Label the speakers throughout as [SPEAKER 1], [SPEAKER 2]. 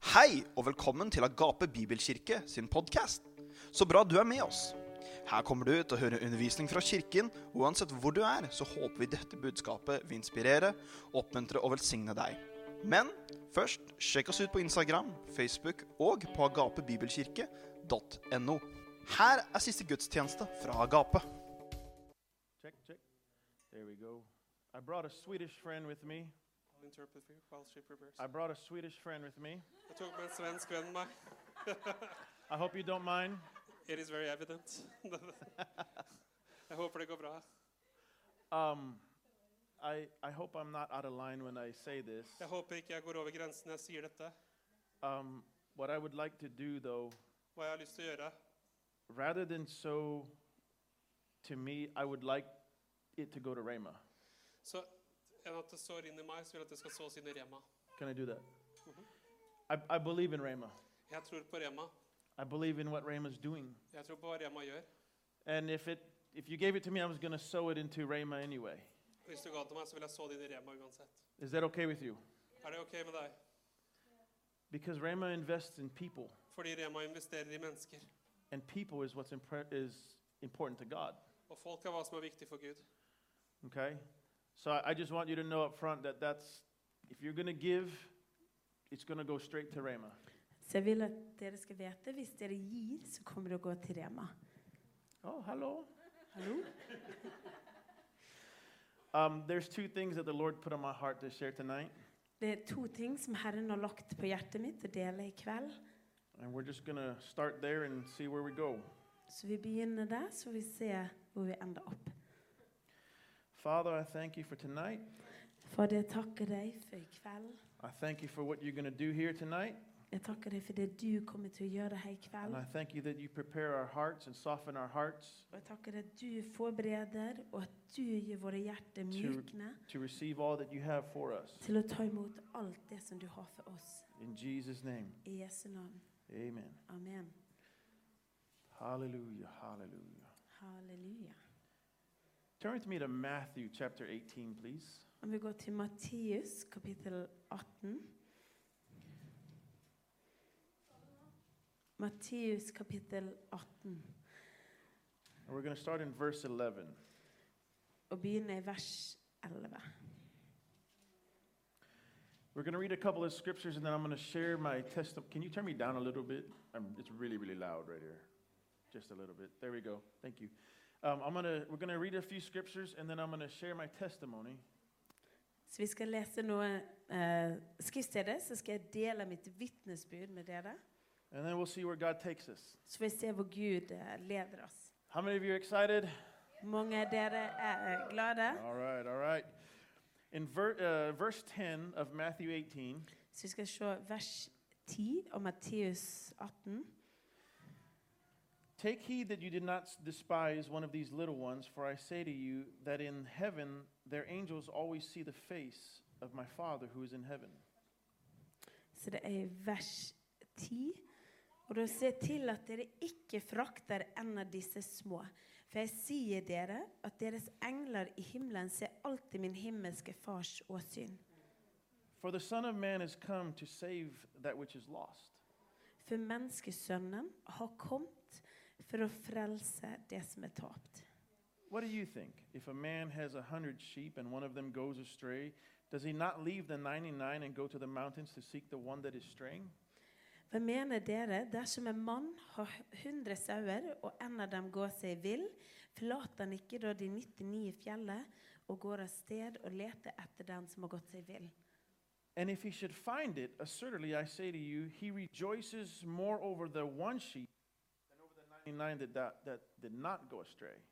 [SPEAKER 1] Hei og velkommen til Agape Bibelkirke sin podkast. Så bra du er med oss. Her kommer du til å høre undervisning fra kirken, og uansett hvor du er, så håper vi dette budskapet vil inspirere, oppmuntre og velsigne deg. Men først, sjekk oss ut på Instagram, Facebook og på agapebibelkirke.no. Her er siste gudstjeneste fra Agape.
[SPEAKER 2] Check, check. There we go. I brought a Swedish friend with me.
[SPEAKER 3] I'll interpret for you while she prepares.
[SPEAKER 2] I brought a Swedish friend with me.
[SPEAKER 3] Jeg tok med en svensk venn med meg.
[SPEAKER 2] I hope you don't mind.
[SPEAKER 3] It is very evident. Jeg håper det går bra.
[SPEAKER 2] Um, I, I hope I'm not out of line when I say this.
[SPEAKER 3] Jeg håper ikke jeg går over grensen når jeg sier dette.
[SPEAKER 2] Um, what I would like to do, though,
[SPEAKER 3] Hva jeg har lyst til å gjøre.
[SPEAKER 2] rather than so to me, I would like it to go to Rhema.
[SPEAKER 3] Så enn at det sår inn i meg, så vil jeg at det skal sås inn i Rema.
[SPEAKER 2] Can I do that? I, I believe in Rhema.
[SPEAKER 3] Jeg tror på Rema.
[SPEAKER 2] I believe in what Rhema's doing.
[SPEAKER 3] Jeg tror på hva Rema gjør.
[SPEAKER 2] And if, it, if you gave it to me, I was going to sow it into Rhema anyway.
[SPEAKER 3] Hvis du ga det til meg, så vil jeg så det inn i Rema uansett.
[SPEAKER 2] Is that okay with you?
[SPEAKER 3] Er det ok med deg?
[SPEAKER 2] Because Rhema invests in people.
[SPEAKER 3] Fordi Rema investerer i mennesker.
[SPEAKER 2] And people is what's impre- is important to God.
[SPEAKER 3] Og folk er hva som er viktig for Gud.
[SPEAKER 2] Okay? So I, I just want you to know up front that that's, if you're going to give, it's going to go straight to Rhema.
[SPEAKER 4] Så jeg vil at dere skal vite hvis dere gir, så kommer det å gå til Rema.
[SPEAKER 2] Oh, hello.
[SPEAKER 4] Hallo?
[SPEAKER 2] Um, there's two things that the Lord put on my heart to share tonight,
[SPEAKER 4] Det er to ting som Herren har lagt på hjertet mitt å dele i kveld.
[SPEAKER 2] and we're just going to start there and see where we go.
[SPEAKER 4] Så vi begynner der, så vi ser hvor vi ender opp.
[SPEAKER 2] Father, I thank you for tonight.
[SPEAKER 4] Fader, jeg takker deg for i kveld.
[SPEAKER 2] I thank you for what you're going to do here tonight.
[SPEAKER 4] Jeg takker deg for det du kommer til å gjøre her i
[SPEAKER 2] And
[SPEAKER 4] kveld.
[SPEAKER 2] I thank you that you prepare our hearts and soften our hearts
[SPEAKER 4] Og jeg takker deg at du forbereder, og at du gjør våre hjerter mykne
[SPEAKER 2] to receive all that you have for us.
[SPEAKER 4] til å ta imot alt det som du har for oss.
[SPEAKER 2] In Jesus' name,
[SPEAKER 4] I Jesu navn.
[SPEAKER 2] amen.
[SPEAKER 4] Amen.
[SPEAKER 2] Hallelujah, hallelujah.
[SPEAKER 4] Halleluja.
[SPEAKER 2] Turn with me to Matthew chapter 18, please.
[SPEAKER 4] Om vi går til Matteus kapittel 18. Matteus kapittel 18,
[SPEAKER 2] And we're going to start in verse 11.
[SPEAKER 4] og begynner i vers 11.
[SPEAKER 2] We're going to read a couple of scriptures and then I'm going to share my testimony. Can you turn me down a little bit? Um, it's really, really loud right here. Just a little bit. There we go. Thank you. Um, I'm gonna, we're going to read a few scriptures and then I'm going to share my testimony.
[SPEAKER 4] Så vi skal lese noe eh, skriftsteder, så skal jeg dele mitt vitnesbyrd med dere.
[SPEAKER 2] And then we'll see where God takes us.
[SPEAKER 4] Så får vi se hvor Gud eh, leder oss.
[SPEAKER 2] How many of you are excited?
[SPEAKER 4] Mange av dere er eh, glade.
[SPEAKER 2] All right, all right. In ver- uh, verse 10 of Matthew 18,
[SPEAKER 4] Så vi skal se vers 10 og Matteus 18.
[SPEAKER 2] Take heed that you do not s- despise one of these little ones, for I say to you that in heaven their angels always see the face of my Father who is in heaven.
[SPEAKER 4] Så det er i vers 10. Og da se til at dere ikke frakter en av disse små. For jeg sier dere at deres engler i himmelen ser alltid min himmelske fars åsyn.
[SPEAKER 2] For the Son of Man is come to save that which is lost.
[SPEAKER 4] For menneskesønnen har kommet for å frelse det som er tapt.
[SPEAKER 2] What do you think? If a man has a hundred sheep and one of them goes astray, does he not leave the 99 and go to the mountains to seek the one that is straying?
[SPEAKER 4] Hva mener dere dersom en mann har hundre sauer, og en av dem går seg vill? Forlater han ikke da de 99 i fjellet og går av sted og leter etter den som har gått seg vill?
[SPEAKER 2] And if he should find it, assuredly I say to you, he rejoices more over the one sheep than over the 99 that, that, that did not go astray.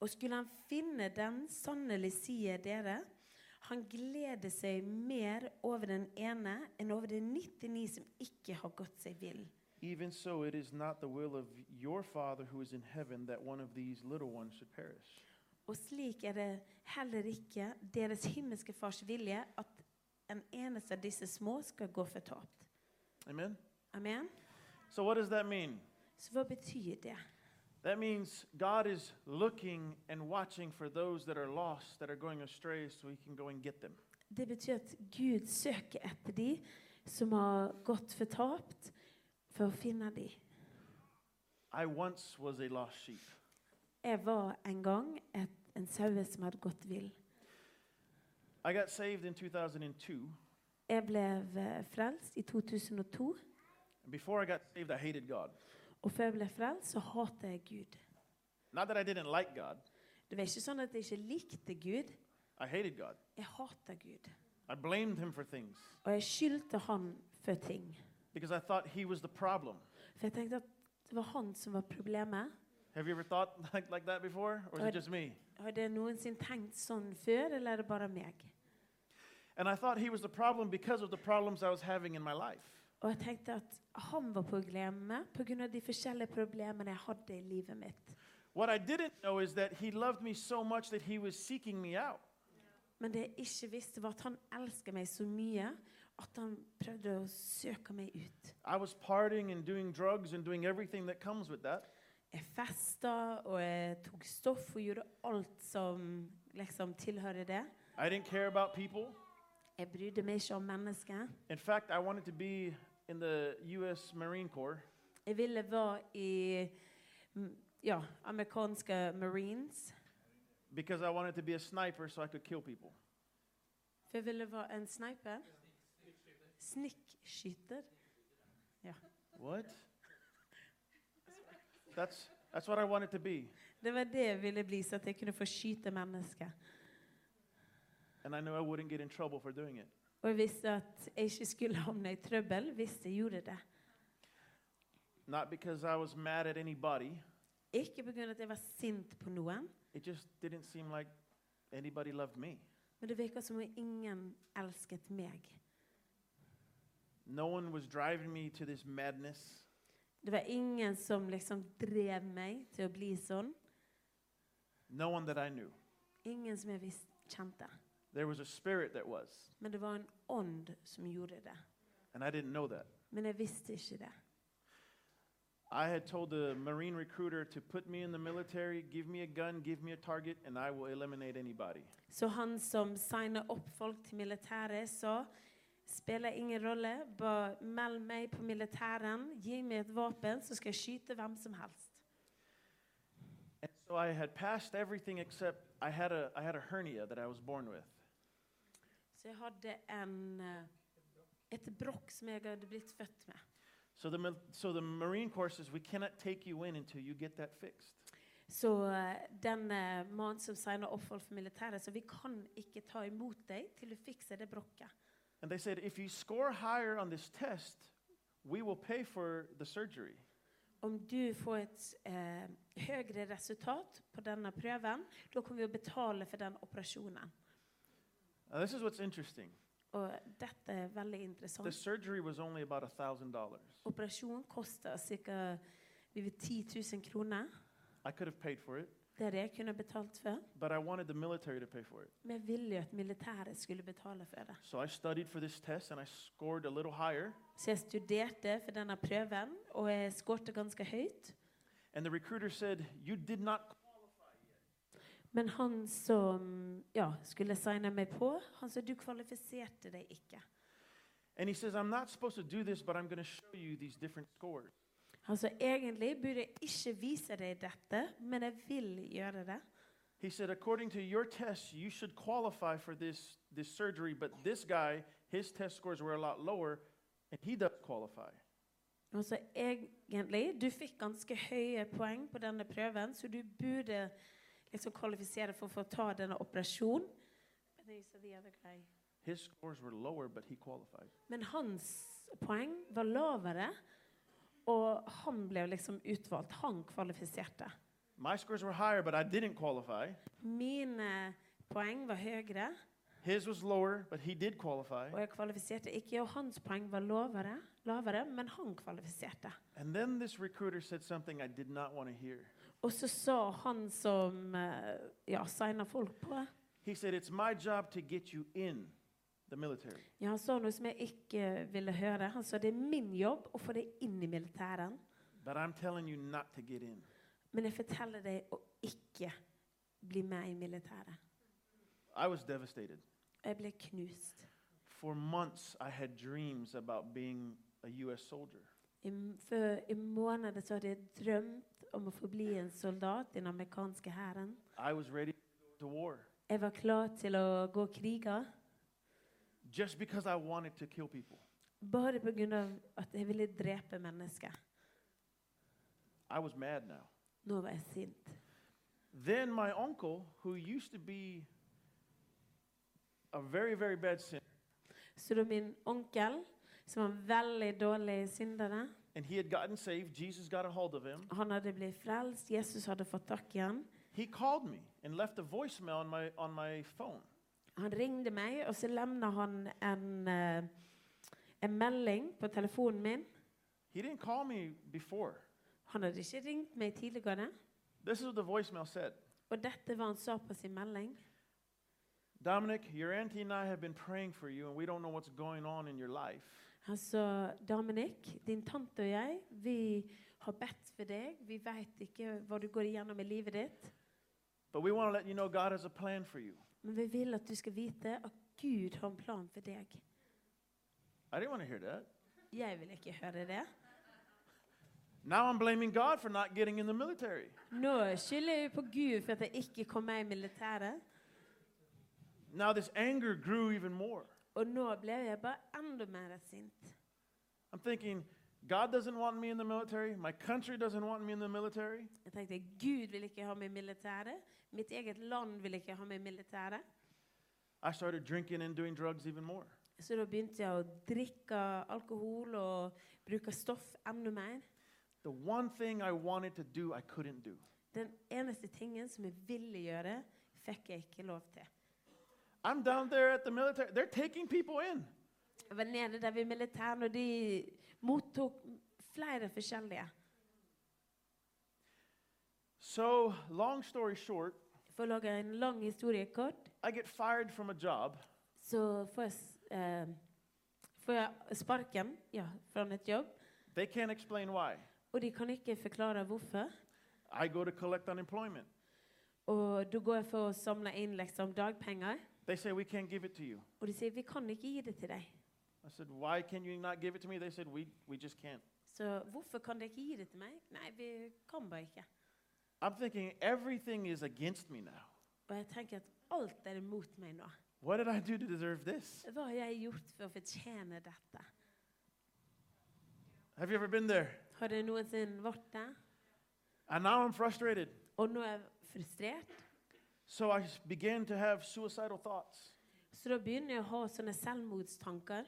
[SPEAKER 4] Og skulle han finne den, sannelig sier dere, han gleder seg mer over den ene enn over den 99 som ikke har gått seg vill.
[SPEAKER 2] Even so, it is not the will of your Father who is in heaven that one of these little ones should perish.
[SPEAKER 4] Og slik er det heller ikke deres himmelske fars vilje at en eneste av disse små skal gå fortapt.
[SPEAKER 2] Amen?
[SPEAKER 4] Amen?
[SPEAKER 2] So, what does that mean?
[SPEAKER 4] Så hva betyr det?
[SPEAKER 2] That means God is looking and watching for those that are lost, that are going astray, so he can go and get them.
[SPEAKER 4] Det betyr at Gud søker etter de som har gått fortapt, for å finne dem.
[SPEAKER 2] I once was a lost sheep.
[SPEAKER 4] Jeg var en gang et, en saue som hadde gått vill.
[SPEAKER 2] I got saved in 2002.
[SPEAKER 4] Jeg ble eh, frelst i 2002,
[SPEAKER 2] And before I got saved, I hated God.
[SPEAKER 4] og før jeg ble frelst, så hatet jeg Gud.
[SPEAKER 2] Not that I didn't like God,
[SPEAKER 4] Det var ikke sånn at jeg ikke likte Gud.
[SPEAKER 2] I hated God.
[SPEAKER 4] Jeg hatet Gud.
[SPEAKER 2] I blamed Him for things
[SPEAKER 4] Og jeg skyldte han for ting.
[SPEAKER 2] because I thought He was the problem.
[SPEAKER 4] For jeg tenkte at det var han som var problemet.
[SPEAKER 2] Have you ever thought like, like that before? Or is
[SPEAKER 4] Uh,
[SPEAKER 2] it just me?
[SPEAKER 4] Har det noensinne tenkt sånn før, eller er det bare meg?
[SPEAKER 2] And I thought He was the problem because of the problems I was having in my life.
[SPEAKER 4] Og jeg tenkte at han var problemet pga. de forskjellige problemene jeg hadde i livet mitt.
[SPEAKER 2] What I didn't know is that He loved me so much that He was seeking me out.
[SPEAKER 4] Men det jeg ikke visste, var at han elsket meg så mye at han prøvde å søke meg ut.
[SPEAKER 2] I was partying and doing drugs and doing everything that comes with that.
[SPEAKER 4] Jeg festa, og jeg tok stoff og gjorde alt som liksom tilhører det.
[SPEAKER 2] I didn't care about people.
[SPEAKER 4] Jeg brydde meg ikke om mennesker.
[SPEAKER 2] In fact, I wanted to be in the U.S. Marine Corps.
[SPEAKER 4] Jeg ville være i mm, ja, amerikanske marines.
[SPEAKER 2] because I wanted to be a sniper so I could kill people.
[SPEAKER 4] For jeg ville være en sniper. Snikkskyter.
[SPEAKER 2] What? That's, that's what I wanted to be.
[SPEAKER 4] Det var det jeg ville bli, så at jeg kunne få skyte mennesker.
[SPEAKER 2] And I knew I wouldn't get in trouble for doing it.
[SPEAKER 4] Og jeg visste at jeg ikke skulle havne i trøbbel hvis jeg gjorde det.
[SPEAKER 2] Not because I was mad at anybody,
[SPEAKER 4] Ikke pga. at jeg var sint på noen,
[SPEAKER 2] it just didn't seem like anybody loved me.
[SPEAKER 4] men det virka som om ingen elsket meg.
[SPEAKER 2] No one was driving me to this madness.
[SPEAKER 4] Det var ingen som liksom drev meg til å bli sånn.
[SPEAKER 2] No one that I knew.
[SPEAKER 4] Ingen som jeg visst kjente.
[SPEAKER 2] There was a spirit that was,
[SPEAKER 4] Men det var en ånd som gjorde det.
[SPEAKER 2] and I didn't know that.
[SPEAKER 4] Men jeg visste ikke det.
[SPEAKER 2] I had told the Marine recruiter to put me in the military, give me a gun, give me a target, and I will eliminate anybody.
[SPEAKER 4] Så han som signa opp folk til militæret, sa spiller ingen rolle, bare meld meg på militæren, gi meg et våpen, så skal jeg skyte hvem som helst.
[SPEAKER 2] And so I had passed everything except I had a, I had a hernia that I was born with.
[SPEAKER 4] Så jeg hadde en, eh, et brokk som jeg hadde blitt født med.
[SPEAKER 2] So the, mil- so the Marine Corps says, we cannot take you in until you get that fixed.
[SPEAKER 4] Så eh, den eh, mannen som signa opp folk for militæret, sa vi kan ikke ta imot deg til du fikser det brokket.
[SPEAKER 2] And they said, if you score higher on this test, we will pay for the surgery.
[SPEAKER 4] Om du får et eh, høyere resultat på denne prøven, da kommer vi å betale for den operasjonen.
[SPEAKER 2] Now, this is what's interesting.
[SPEAKER 4] Og dette er veldig interessant.
[SPEAKER 2] The surgery was only about $1,000.
[SPEAKER 4] Operasjonen koster ca. 10 000 kroner.
[SPEAKER 2] I could have paid for it,
[SPEAKER 4] Det er det jeg kunne betalt for.
[SPEAKER 2] but I wanted the military to pay for it.
[SPEAKER 4] Men jeg ville jo at militæret skulle betale for det.
[SPEAKER 2] So I studied for this test and I scored a little higher.
[SPEAKER 4] Så jeg studerte for denne prøven, og jeg skårte ganske høyt.
[SPEAKER 2] And the recruiter said, you did not
[SPEAKER 4] Men han som ja, skulle signe meg på, han sa du kvalifiserte deg ikke.
[SPEAKER 2] And he says, I'm not supposed to do this, but I'm going to show you these different scores.
[SPEAKER 4] Han sa egentlig burde jeg ikke vise deg dette, men jeg vil gjøre det.
[SPEAKER 2] He said, according to your tests, you should qualify for this, this surgery, but this guy, his test scores were a lot lower, and he doesn't qualify.
[SPEAKER 4] Han sa egentlig du fikk ganske høye poeng på denne prøven, så du burde liksom kvalifisere for å få ta denne operasjonen. But they said the other guy.
[SPEAKER 2] His scores were lower, but he qualified.
[SPEAKER 4] Men hans poeng var lavere, og han ble liksom utvalgt. Han kvalifiserte.
[SPEAKER 2] My scores were higher, but I didn't qualify.
[SPEAKER 4] Mine poeng var høyere,
[SPEAKER 2] His was lower, but he did qualify.
[SPEAKER 4] og jeg kvalifiserte ikke. Og hans poeng var lavere, lavere men han kvalifiserte.
[SPEAKER 2] And then this recruiter said something I did not want to hear.
[SPEAKER 4] Og så sa han som eh, ja, signa folk på
[SPEAKER 2] He said, It's my job to get you in the military.
[SPEAKER 4] ja, Han sa noe som jeg ikke ville høre. Han sa det er min jobb å få deg inn i militæren,
[SPEAKER 2] But I'm telling you not to get in.
[SPEAKER 4] men jeg forteller deg å ikke bli med i militæret.
[SPEAKER 2] I was devastated.
[SPEAKER 4] Og jeg ble knust.
[SPEAKER 2] For months, I had dreams about being a U.S. soldier.
[SPEAKER 4] I, m- for, I måneder så hadde jeg drømt om å forbli en soldat i den amerikanske hæren.
[SPEAKER 2] I was ready to war
[SPEAKER 4] Jeg var klar til å gå kriger
[SPEAKER 2] just because I wanted to kill people.
[SPEAKER 4] bare pga. at jeg ville drepe mennesker.
[SPEAKER 2] I was mad now.
[SPEAKER 4] Nå var jeg sint.
[SPEAKER 2] Then my uncle, who used to be a very, very bad sinner,
[SPEAKER 4] Så da min onkel, som var en veldig dårlig syndere,
[SPEAKER 2] and he had gotten saved, Jesus got a hold of him.
[SPEAKER 4] han hadde blitt frelst, Jesus hadde fått tak i han.
[SPEAKER 2] He called me and left a voicemail on my, on my phone.
[SPEAKER 4] Han ringte meg, og så lemna han en, eh, en melding på telefonen min.
[SPEAKER 2] He didn't call me before.
[SPEAKER 4] Han hadde ikke ringt meg tidligere.
[SPEAKER 2] This is what the voicemail said
[SPEAKER 4] Og dette var han sa på sin melding.
[SPEAKER 2] Dominic, your auntie and I have been praying for you, and we don't know what's going on in your life.
[SPEAKER 4] Han sa, 'Dominic, din tante og jeg, vi har bedt for deg. Vi veit ikke hva du går igjennom i livet ditt,
[SPEAKER 2] But we want to let you know God has a plan for you.
[SPEAKER 4] men vi vil at du skal vite at Gud har en plan for deg.'
[SPEAKER 2] I didn't want to hear that.
[SPEAKER 4] Jeg vil ikke høre det.
[SPEAKER 2] Now I'm blaming God for not getting in the military.
[SPEAKER 4] Nå skylder jeg på Gud for at jeg ikke kom meg i militæret.
[SPEAKER 2] Now this anger grew even more.
[SPEAKER 4] Og nå ble jeg bare enda mer sint.
[SPEAKER 2] I'm thinking, God doesn't want me in the military. My country doesn't want me in the military.
[SPEAKER 4] Jeg tenkte Gud vil ikke ha meg i militæret. Mitt eget land vil ikke ha meg i militæret.
[SPEAKER 2] I started drinking and doing drugs even more.
[SPEAKER 4] Så da begynte jeg å drikke alkohol og bruke stoff enda mer.
[SPEAKER 2] The one thing I wanted to do, I couldn't do.
[SPEAKER 4] Den eneste tingen som jeg ville gjøre, fikk jeg ikke lov til.
[SPEAKER 2] I'm down there at the military. They're taking people in.
[SPEAKER 4] Jeg var nede der ved militæret, og de mottok flere forskjellige.
[SPEAKER 2] So, long story short,
[SPEAKER 4] For å lage en lang historie kort,
[SPEAKER 2] I get fired from a job
[SPEAKER 4] så får jeg, s- eh, får jeg sparken ja, fra et jobb.
[SPEAKER 2] They can't explain why.
[SPEAKER 4] Og de kan ikke forklare hvorfor.
[SPEAKER 2] I go to collect unemployment.
[SPEAKER 4] Og da går jeg for å samle inn liksom, dagpenger.
[SPEAKER 2] They say, We can't give it to you.
[SPEAKER 4] Og de sier vi kan ikke gi det til deg.
[SPEAKER 2] I said, Why can you not give it to me? They said, We, we just can't.
[SPEAKER 4] Så hvorfor kan dere ikke gi det til meg? Nei, vi kan bare ikke.
[SPEAKER 2] I'm thinking, Everything is against me now.
[SPEAKER 4] Og jeg tenker at alt er imot meg nå.
[SPEAKER 2] What did I do to deserve this?
[SPEAKER 4] Hva har jeg gjort for å fortjene dette?
[SPEAKER 2] Have you ever been there?
[SPEAKER 4] Har det noensinne vært der?
[SPEAKER 2] And now I'm frustrated.
[SPEAKER 4] Og nå er jeg frustrert.
[SPEAKER 2] So I s- began to have suicidal thoughts.
[SPEAKER 4] Så da begynner jeg å ha sånne selvmordstanker.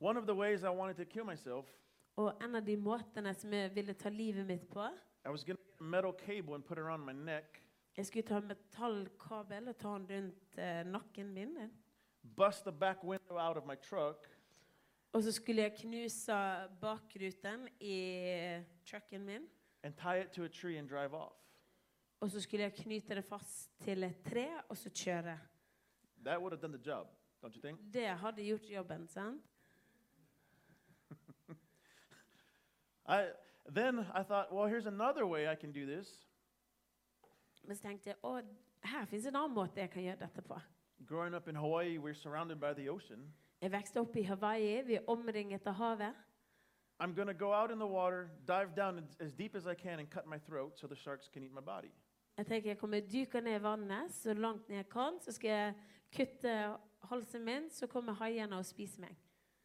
[SPEAKER 2] One of the ways I wanted to kill myself,
[SPEAKER 4] Og en av de måtene som jeg ville ta livet mitt på
[SPEAKER 2] I was going to get a metal cable and put it around my neck,
[SPEAKER 4] Jeg skulle ta en metallkabel og ta den rundt eh, nakken min.
[SPEAKER 2] bust the back window out of my truck,
[SPEAKER 4] Og så skulle jeg knuse bakruten i trucken min.
[SPEAKER 2] and tie it to a tree and drive off.
[SPEAKER 4] Og så skulle jeg knyte det fast til et tre og så kjøre.
[SPEAKER 2] That would have done the job, don't you think?
[SPEAKER 4] Det hadde gjort jobben, sant?
[SPEAKER 2] I then I thought, well, here's another way I can do this:
[SPEAKER 4] Men så tenkte jeg å, her fins en annen måte jeg kan gjøre dette på.
[SPEAKER 2] Growing up in Hawaii, we're surrounded by the ocean.
[SPEAKER 4] Jeg vokste opp i Hawaii. Vi er omringet av havet.
[SPEAKER 2] I'm going to go out in the water, dive down as- as deep as I can, and cut my throat so the sharks can eat my body.
[SPEAKER 4] Jeg tenker jeg kommer dyke ned i vannet så langt ned jeg kan. Så skal jeg kutte halsen min, så kommer haiene og spiser meg.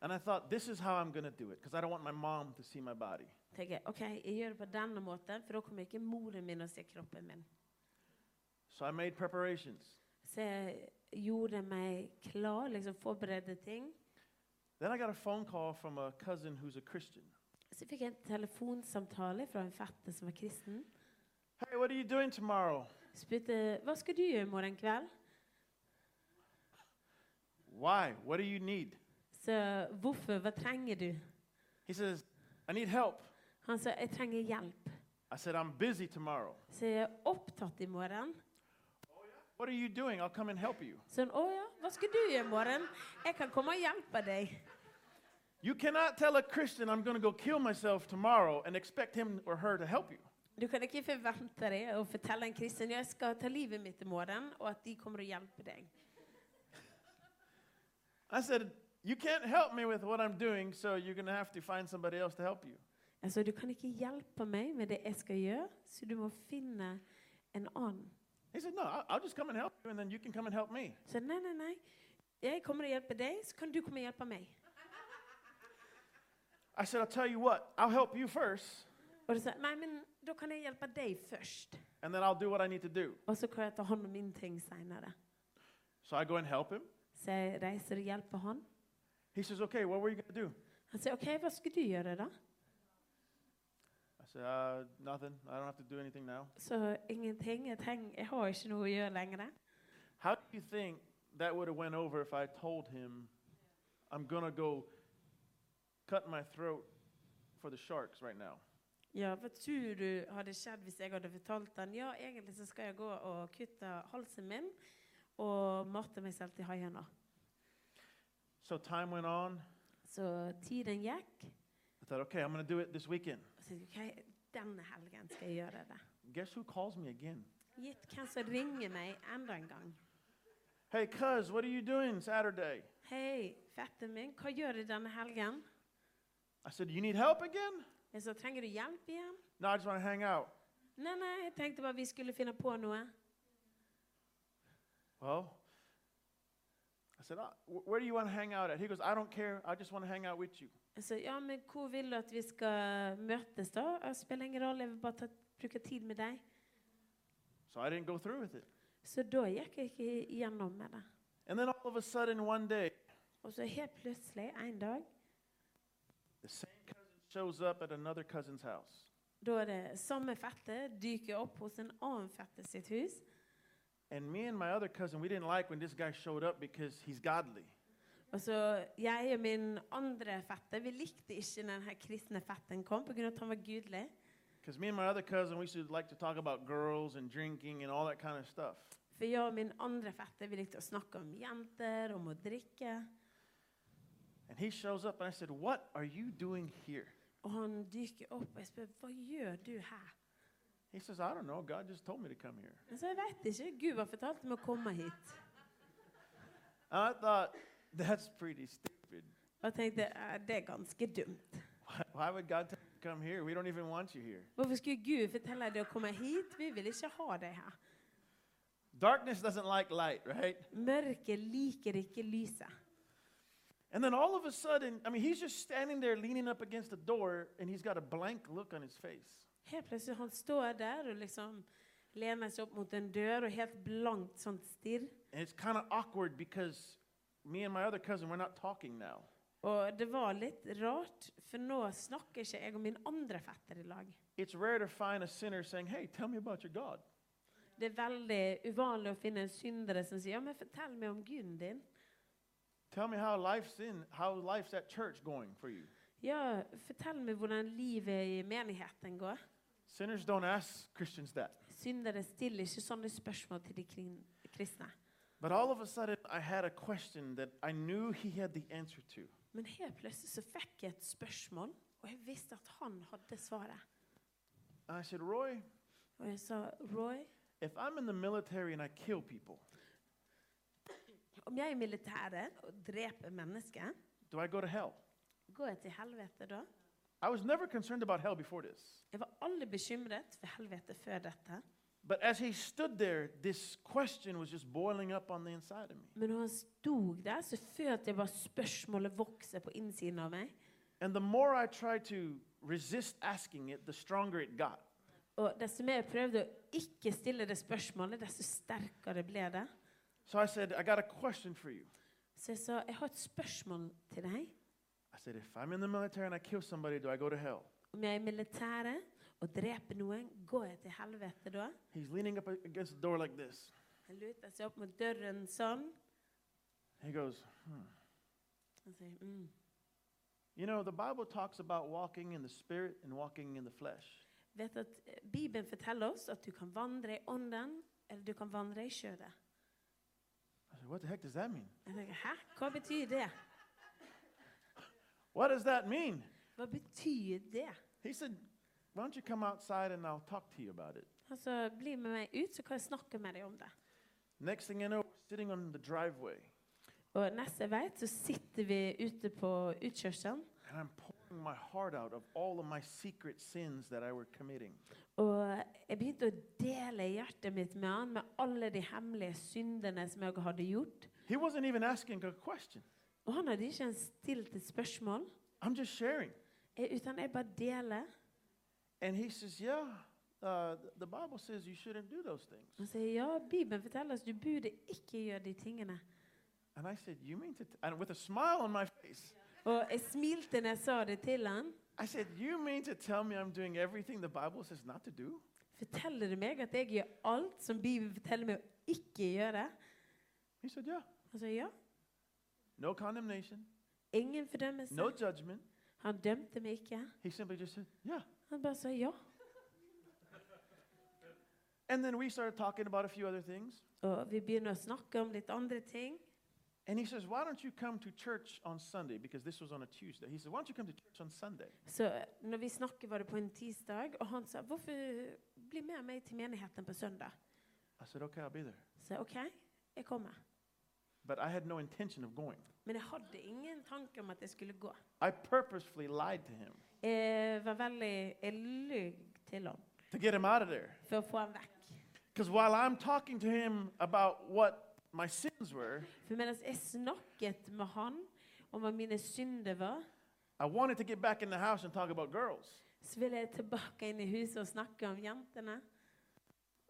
[SPEAKER 2] And I thought, this is how I'm going to do it because I don't want my mom to see my body.
[SPEAKER 4] tenker jeg, ok, jeg gjør det på denne måten, for da kommer ikke moren min og ser kroppen min.
[SPEAKER 2] So I made preparations.
[SPEAKER 4] Så jeg gjorde meg klar, liksom forberedte ting.
[SPEAKER 2] Then I got a phone call from a cousin who's a Christian.
[SPEAKER 4] Så fikk jeg en telefonsamtale fra en fetter som var kristen.
[SPEAKER 2] Hey, what are you doing tomorrow?
[SPEAKER 4] Spurte hva skal du gjøre i morgen kveld.
[SPEAKER 2] Why? What do you need?
[SPEAKER 4] Så hvorfor? Hva trenger du?
[SPEAKER 2] He says, I need help.
[SPEAKER 4] Han sa jeg trenger hjelp.
[SPEAKER 2] I said, I'm busy tomorrow.
[SPEAKER 4] Så jeg er opptatt i morgen.
[SPEAKER 2] What are you doing? I'll come and help you.
[SPEAKER 4] Så han å ja, hva skal du gjøre i morgen? Jeg kan komme og hjelpe deg.
[SPEAKER 2] You cannot tell a Christian I'm going to go kill myself tomorrow and expect him or her to help you.
[SPEAKER 4] Du kan ikke forvente deg å fortelle en kristen jeg skal ta livet mitt i morgen, og at de kommer og hjelper deg.
[SPEAKER 2] I said, You can't help me with what I'm doing, so you're going to have to find somebody else to help you.
[SPEAKER 4] Jeg sa, Altså, du kan ikke hjelpe meg med det jeg skal gjøre, så du må finne en annen.
[SPEAKER 2] He said, No, I'll, I'll just come and help you, and then you can come and help me.
[SPEAKER 4] Så jeg, nei, nei, nei. Jeg kommer og hjelper deg, så kan du komme og hjelpe meg.
[SPEAKER 2] I said, I'll tell you what, I'll help you first,
[SPEAKER 4] Og du sa, nei, men da kan jeg hjelpe deg først.
[SPEAKER 2] and then I'll do what I need to do.
[SPEAKER 4] Og så kan jeg ta hånd om min ting senere.
[SPEAKER 2] So I go and help him.
[SPEAKER 4] Så jeg reiser og hjelper han.
[SPEAKER 2] He says, Okay, what were you going to do?
[SPEAKER 4] Han sier, ok, hva skulle du gjøre da?
[SPEAKER 2] I said, uh, Nothing. I don't have to do anything now.
[SPEAKER 4] Så ingenting, jeg trenger, jeg har ikke noe å gjøre lenger.
[SPEAKER 2] How do you think that would have went over if I told him I'm going to go cut my throat for the sharks right now?
[SPEAKER 4] Ja, hva tror du hadde skjedd hvis jeg hadde fortalt han, ja, egentlig så skal jeg gå og kutte halsen min, og mate meg selv til haiene.
[SPEAKER 2] So time went on.
[SPEAKER 4] Så tiden gikk,
[SPEAKER 2] I thought, okay, I'm going to do it this weekend.
[SPEAKER 4] og så tenkte jeg, ok, denne helgen skal jeg gjøre det.
[SPEAKER 2] Guess who calls me again?
[SPEAKER 4] Gitt hvem som ringer meg enda en gang.
[SPEAKER 2] Hey, cuz, what are you doing Saturday?
[SPEAKER 4] Hei, fetten min, hva gjør du denne helgen?
[SPEAKER 2] I said, you need help again?
[SPEAKER 4] Jeg sa, trenger du hjelp igjen?
[SPEAKER 2] No, I just want to hang out.
[SPEAKER 4] Nei, nei, jeg tenkte bare vi skulle finne på noe.
[SPEAKER 2] Well, I said, "Uh, wh- where do you want to hang out at? He goes, I don't care. I just want to hang out with you.
[SPEAKER 4] Jeg sa, ja, men hvor vil du at vi skal møtes da? Det spiller ingen rolle, jeg vil bare ta, bruke tid med deg.
[SPEAKER 2] So I didn't go through with it.
[SPEAKER 4] Så da gikk jeg ikke igjennom med det.
[SPEAKER 2] And then all of a sudden, one day,
[SPEAKER 4] Og så helt plutselig, en dag,
[SPEAKER 2] the same cousin shows up at another cousin's house.
[SPEAKER 4] da er det samme fette dyker opp hos en annen fette sitt hus.
[SPEAKER 2] And me and my other cousin, we didn't like when this guy showed up because he's godly.
[SPEAKER 4] Og så jeg og min andre fette, vi likte ikke når denne kristne fetten kom, på grunn av at han var gudelig.
[SPEAKER 2] Because me and my other cousin, we should like to talk about girls and drinking and all that kind of stuff.
[SPEAKER 4] For jeg og min andre fette, vi likte å snakke om jenter, om å drikke.
[SPEAKER 2] And he shows up, and I said, What are you doing here?
[SPEAKER 4] Og han dyker opp, og jeg spør, hva gjør du her?
[SPEAKER 2] He says, I don't know. God just told me to come here.
[SPEAKER 4] Jeg sa, jeg vet ikke, Gud har fortalt meg å komme hit.
[SPEAKER 2] And I thought, That's pretty stupid.
[SPEAKER 4] Og jeg tenkte, «Eh, det er ganske dumt.
[SPEAKER 2] Why, why would God tell you to come here? We don't even want you here.
[SPEAKER 4] Hvorfor skulle Gud fortelle deg å komme hit? Vi vil ikke ha deg her.
[SPEAKER 2] Darkness doesn't like light, right?
[SPEAKER 4] Mørket liker ikke lyset.
[SPEAKER 2] And then all of a sudden, I mean, he's just standing there leaning up against the door, and he's got a blank look on his face.
[SPEAKER 4] Helt plutselig han står der og liksom lener seg opp mot en dør og helt blankt sånt stirr.
[SPEAKER 2] And it's kind of awkward because me and my other cousin, we're not talking now.
[SPEAKER 4] Og det var litt rart, for nå snakker ikke jeg og min andre fetter i lag.
[SPEAKER 2] It's rare to find a sinner saying, Hey, tell me about your God.
[SPEAKER 4] Det er veldig uvanlig å finne syndere som sier ja, men fortell meg om guden din.
[SPEAKER 2] Tell me how life's in, how life's at church going for you.
[SPEAKER 4] Ja, fortell meg hvordan livet i menigheten går.
[SPEAKER 2] Sinners don't ask Christians that.
[SPEAKER 4] Syndere stiller ikke sånne spørsmål til de krin- kristne.
[SPEAKER 2] But all of a sudden, I had a question that I knew he had the answer to.
[SPEAKER 4] Men helt plutselig så fikk jeg et spørsmål, og jeg visste at han hadde svaret.
[SPEAKER 2] And I said, Roy,
[SPEAKER 4] Og jeg sa, Roy,
[SPEAKER 2] if I'm in the military and I kill people,
[SPEAKER 4] om jeg er militæret og dreper mennesker,
[SPEAKER 2] do I go to hell?
[SPEAKER 4] går jeg til helvete da?
[SPEAKER 2] I was never concerned about hell before this.
[SPEAKER 4] Jeg var aldri bekymret for helvete før dette.
[SPEAKER 2] But as he stood there, this question was just boiling up on the inside of me.
[SPEAKER 4] Men når han sto der, så følte jeg bare spørsmålet vokse på innsiden av meg.
[SPEAKER 2] And the more I tried to resist asking it, the stronger it got.
[SPEAKER 4] Og desto mer jeg prøvde å ikke stille det spørsmålet, desto sterkere ble det.
[SPEAKER 2] So I said, I got a question for you.
[SPEAKER 4] Så jeg sa, jeg har et spørsmål til deg.
[SPEAKER 2] I said, if I'm in the military and I kill somebody, do I go to hell?
[SPEAKER 4] Om jeg er militæret og dreper noen, går jeg til helvete da?
[SPEAKER 2] He's leaning up a- against the door like this.
[SPEAKER 4] Han luter seg opp mot døren sånn.
[SPEAKER 2] He goes,
[SPEAKER 4] Han sier, mm.
[SPEAKER 2] You know, the Bible talks about walking in the spirit and walking in the flesh.
[SPEAKER 4] Vet at eh, Bibelen forteller oss at du kan vandre i ånden, eller du kan vandre i kjødet.
[SPEAKER 2] I said, What the heck does that mean?
[SPEAKER 4] Jeg tenker, Hæ? Hva betyr det?
[SPEAKER 2] What does that mean?
[SPEAKER 4] Hva betyr det?
[SPEAKER 2] He said, Why don't you come outside and I'll talk to you about it?
[SPEAKER 4] Altså, Bli med meg ut, så kan jeg snakke med deg om det.
[SPEAKER 2] Next thing I know, we're sitting on the driveway.
[SPEAKER 4] Og nest jeg vet, så sitter vi ute på utkjørselen,
[SPEAKER 2] And I'm pouring my heart out of all of my secret sins that I were committing.
[SPEAKER 4] og jeg begynte å dele hjertet mitt med han med alle de hemmelige syndene som jeg hadde gjort.
[SPEAKER 2] He wasn't even asking a question.
[SPEAKER 4] Og han hadde ikke ens stilt et spørsmål,
[SPEAKER 2] I'm just sharing.
[SPEAKER 4] eh, utan jeg bare deler.
[SPEAKER 2] And he says, Yeah, uh, th- the Bible says you shouldn't do those things.
[SPEAKER 4] Han sier, ja, Bibelen forteller oss du burde ikke gjøre de tingene.
[SPEAKER 2] And I said, You mean to, t-? and with a smile on my face,
[SPEAKER 4] Og jeg smilte når jeg sa det til han.
[SPEAKER 2] I said, You mean to tell me I'm doing everything the Bible says not to do?
[SPEAKER 4] Forteller du meg at jeg gjør alt som Bibelen forteller meg å ikke gjøre?
[SPEAKER 2] He said, Yeah.
[SPEAKER 4] Han sa ja.
[SPEAKER 2] No condemnation,
[SPEAKER 4] Ingen fordømmelse.
[SPEAKER 2] no judgment.
[SPEAKER 4] Han dømte meg ikke.
[SPEAKER 2] He simply just said, Yeah.
[SPEAKER 4] Han bare sa ja.
[SPEAKER 2] And then we started talking about a few other things.
[SPEAKER 4] Og vi begynner å snakke om litt andre ting.
[SPEAKER 2] And he says, Why don't you come to church on Sunday? Because this was on a Tuesday. He said, Why don't you come to church on Sunday?
[SPEAKER 4] Så når vi snakker, var det på en tirsdag, og han sa 'Hvorfor bli med meg til menigheten på søndag?'
[SPEAKER 2] I said, Okay, I'll be there.
[SPEAKER 4] Så jeg, 'OK, jeg kommer'.
[SPEAKER 2] But I had no intention of going.
[SPEAKER 4] Men jeg hadde ingen tanke om at jeg skulle gå.
[SPEAKER 2] I purposefully lied to him
[SPEAKER 4] Jeg var veldig Jeg løy til han
[SPEAKER 2] to get him out of there.
[SPEAKER 4] for å få han vekk.
[SPEAKER 2] Because while I'm talking to him about what my sins were,
[SPEAKER 4] For mens jeg snakket med han om hva mine synder var,
[SPEAKER 2] I wanted to get back in the house and talk about girls.
[SPEAKER 4] så ville jeg tilbake inn i huset og snakke om jentene.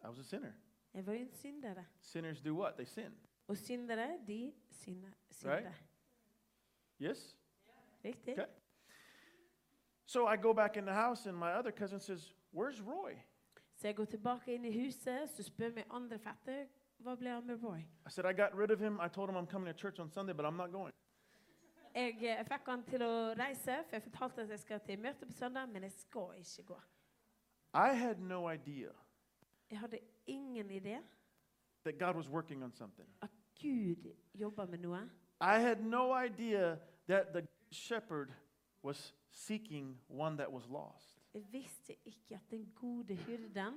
[SPEAKER 2] I was a sinner.
[SPEAKER 4] Jeg var jo en syndere.
[SPEAKER 2] Sinners do what? They sin.
[SPEAKER 4] Og syndere, de synder. synder.
[SPEAKER 2] Yes?
[SPEAKER 4] Riktig?
[SPEAKER 2] Okay. So I go back in the house, and my other cousin says, Where's Roy?
[SPEAKER 4] Så jeg går tilbake inn i huset, så spør min andre fetter hva ble av med Roy.
[SPEAKER 2] I said, I got rid of him. I told him I'm coming to church on Sunday, but I'm not going.
[SPEAKER 4] Jeg, eh, jeg fikk han til å reise, for jeg fortalte at jeg skal til møte på søndag, men jeg skal ikke gå.
[SPEAKER 2] I had no idea
[SPEAKER 4] Jeg hadde ingen idé
[SPEAKER 2] that God was working on something.
[SPEAKER 4] at Gud jobba med noe.
[SPEAKER 2] I had no idea that the shepherd was seeking one that was lost.
[SPEAKER 4] Jeg visste ikke at den gode hyrden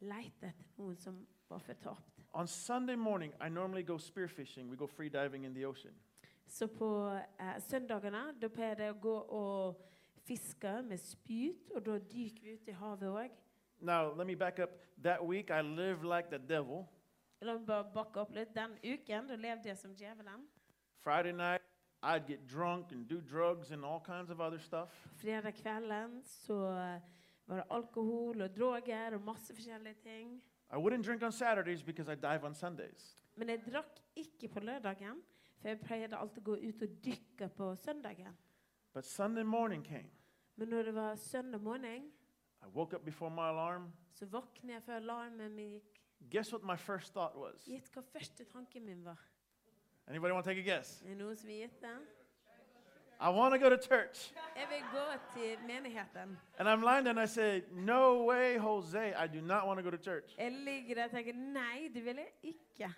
[SPEAKER 4] lette etter noen som var fortapt.
[SPEAKER 2] On Sunday morning, I normally go spearfishing. We go free diving in the ocean.
[SPEAKER 4] Så på eh, søndagene da pleier det å gå og fiske med spyd, og da dyker vi ut i havet òg.
[SPEAKER 2] Now, let me back up. That week, I lived like the devil.
[SPEAKER 4] La meg bare bakke opp litt. Den uken da levde jeg som djevelen.
[SPEAKER 2] Friday night, I'd get drunk and do drugs and all kinds of other stuff.
[SPEAKER 4] Fredag kvelden så var det alkohol og droger og masse forskjellige ting.
[SPEAKER 2] I wouldn't drink on Saturdays because I dive on Sundays.
[SPEAKER 4] Men jeg drakk ikke på lørdagen, for jeg pleide alltid å gå ut og dykke på søndagen.
[SPEAKER 2] But Sunday morning came.
[SPEAKER 4] Men når det var søndag morgen,
[SPEAKER 2] I woke up before my alarm.
[SPEAKER 4] så våknet jeg før alarmen min gikk.
[SPEAKER 2] Guess what my first thought was?
[SPEAKER 4] Gjett hva første tanken min var.
[SPEAKER 2] Anybody want to take a guess?
[SPEAKER 4] Er det noen som vil gjette?
[SPEAKER 2] I want to go to church.
[SPEAKER 4] Jeg vil gå til menigheten.
[SPEAKER 2] And I'm lying there and I say, No way, Jose, I do not want to go to church.
[SPEAKER 4] Jeg ligger der og tenker nei, det vil jeg ikke.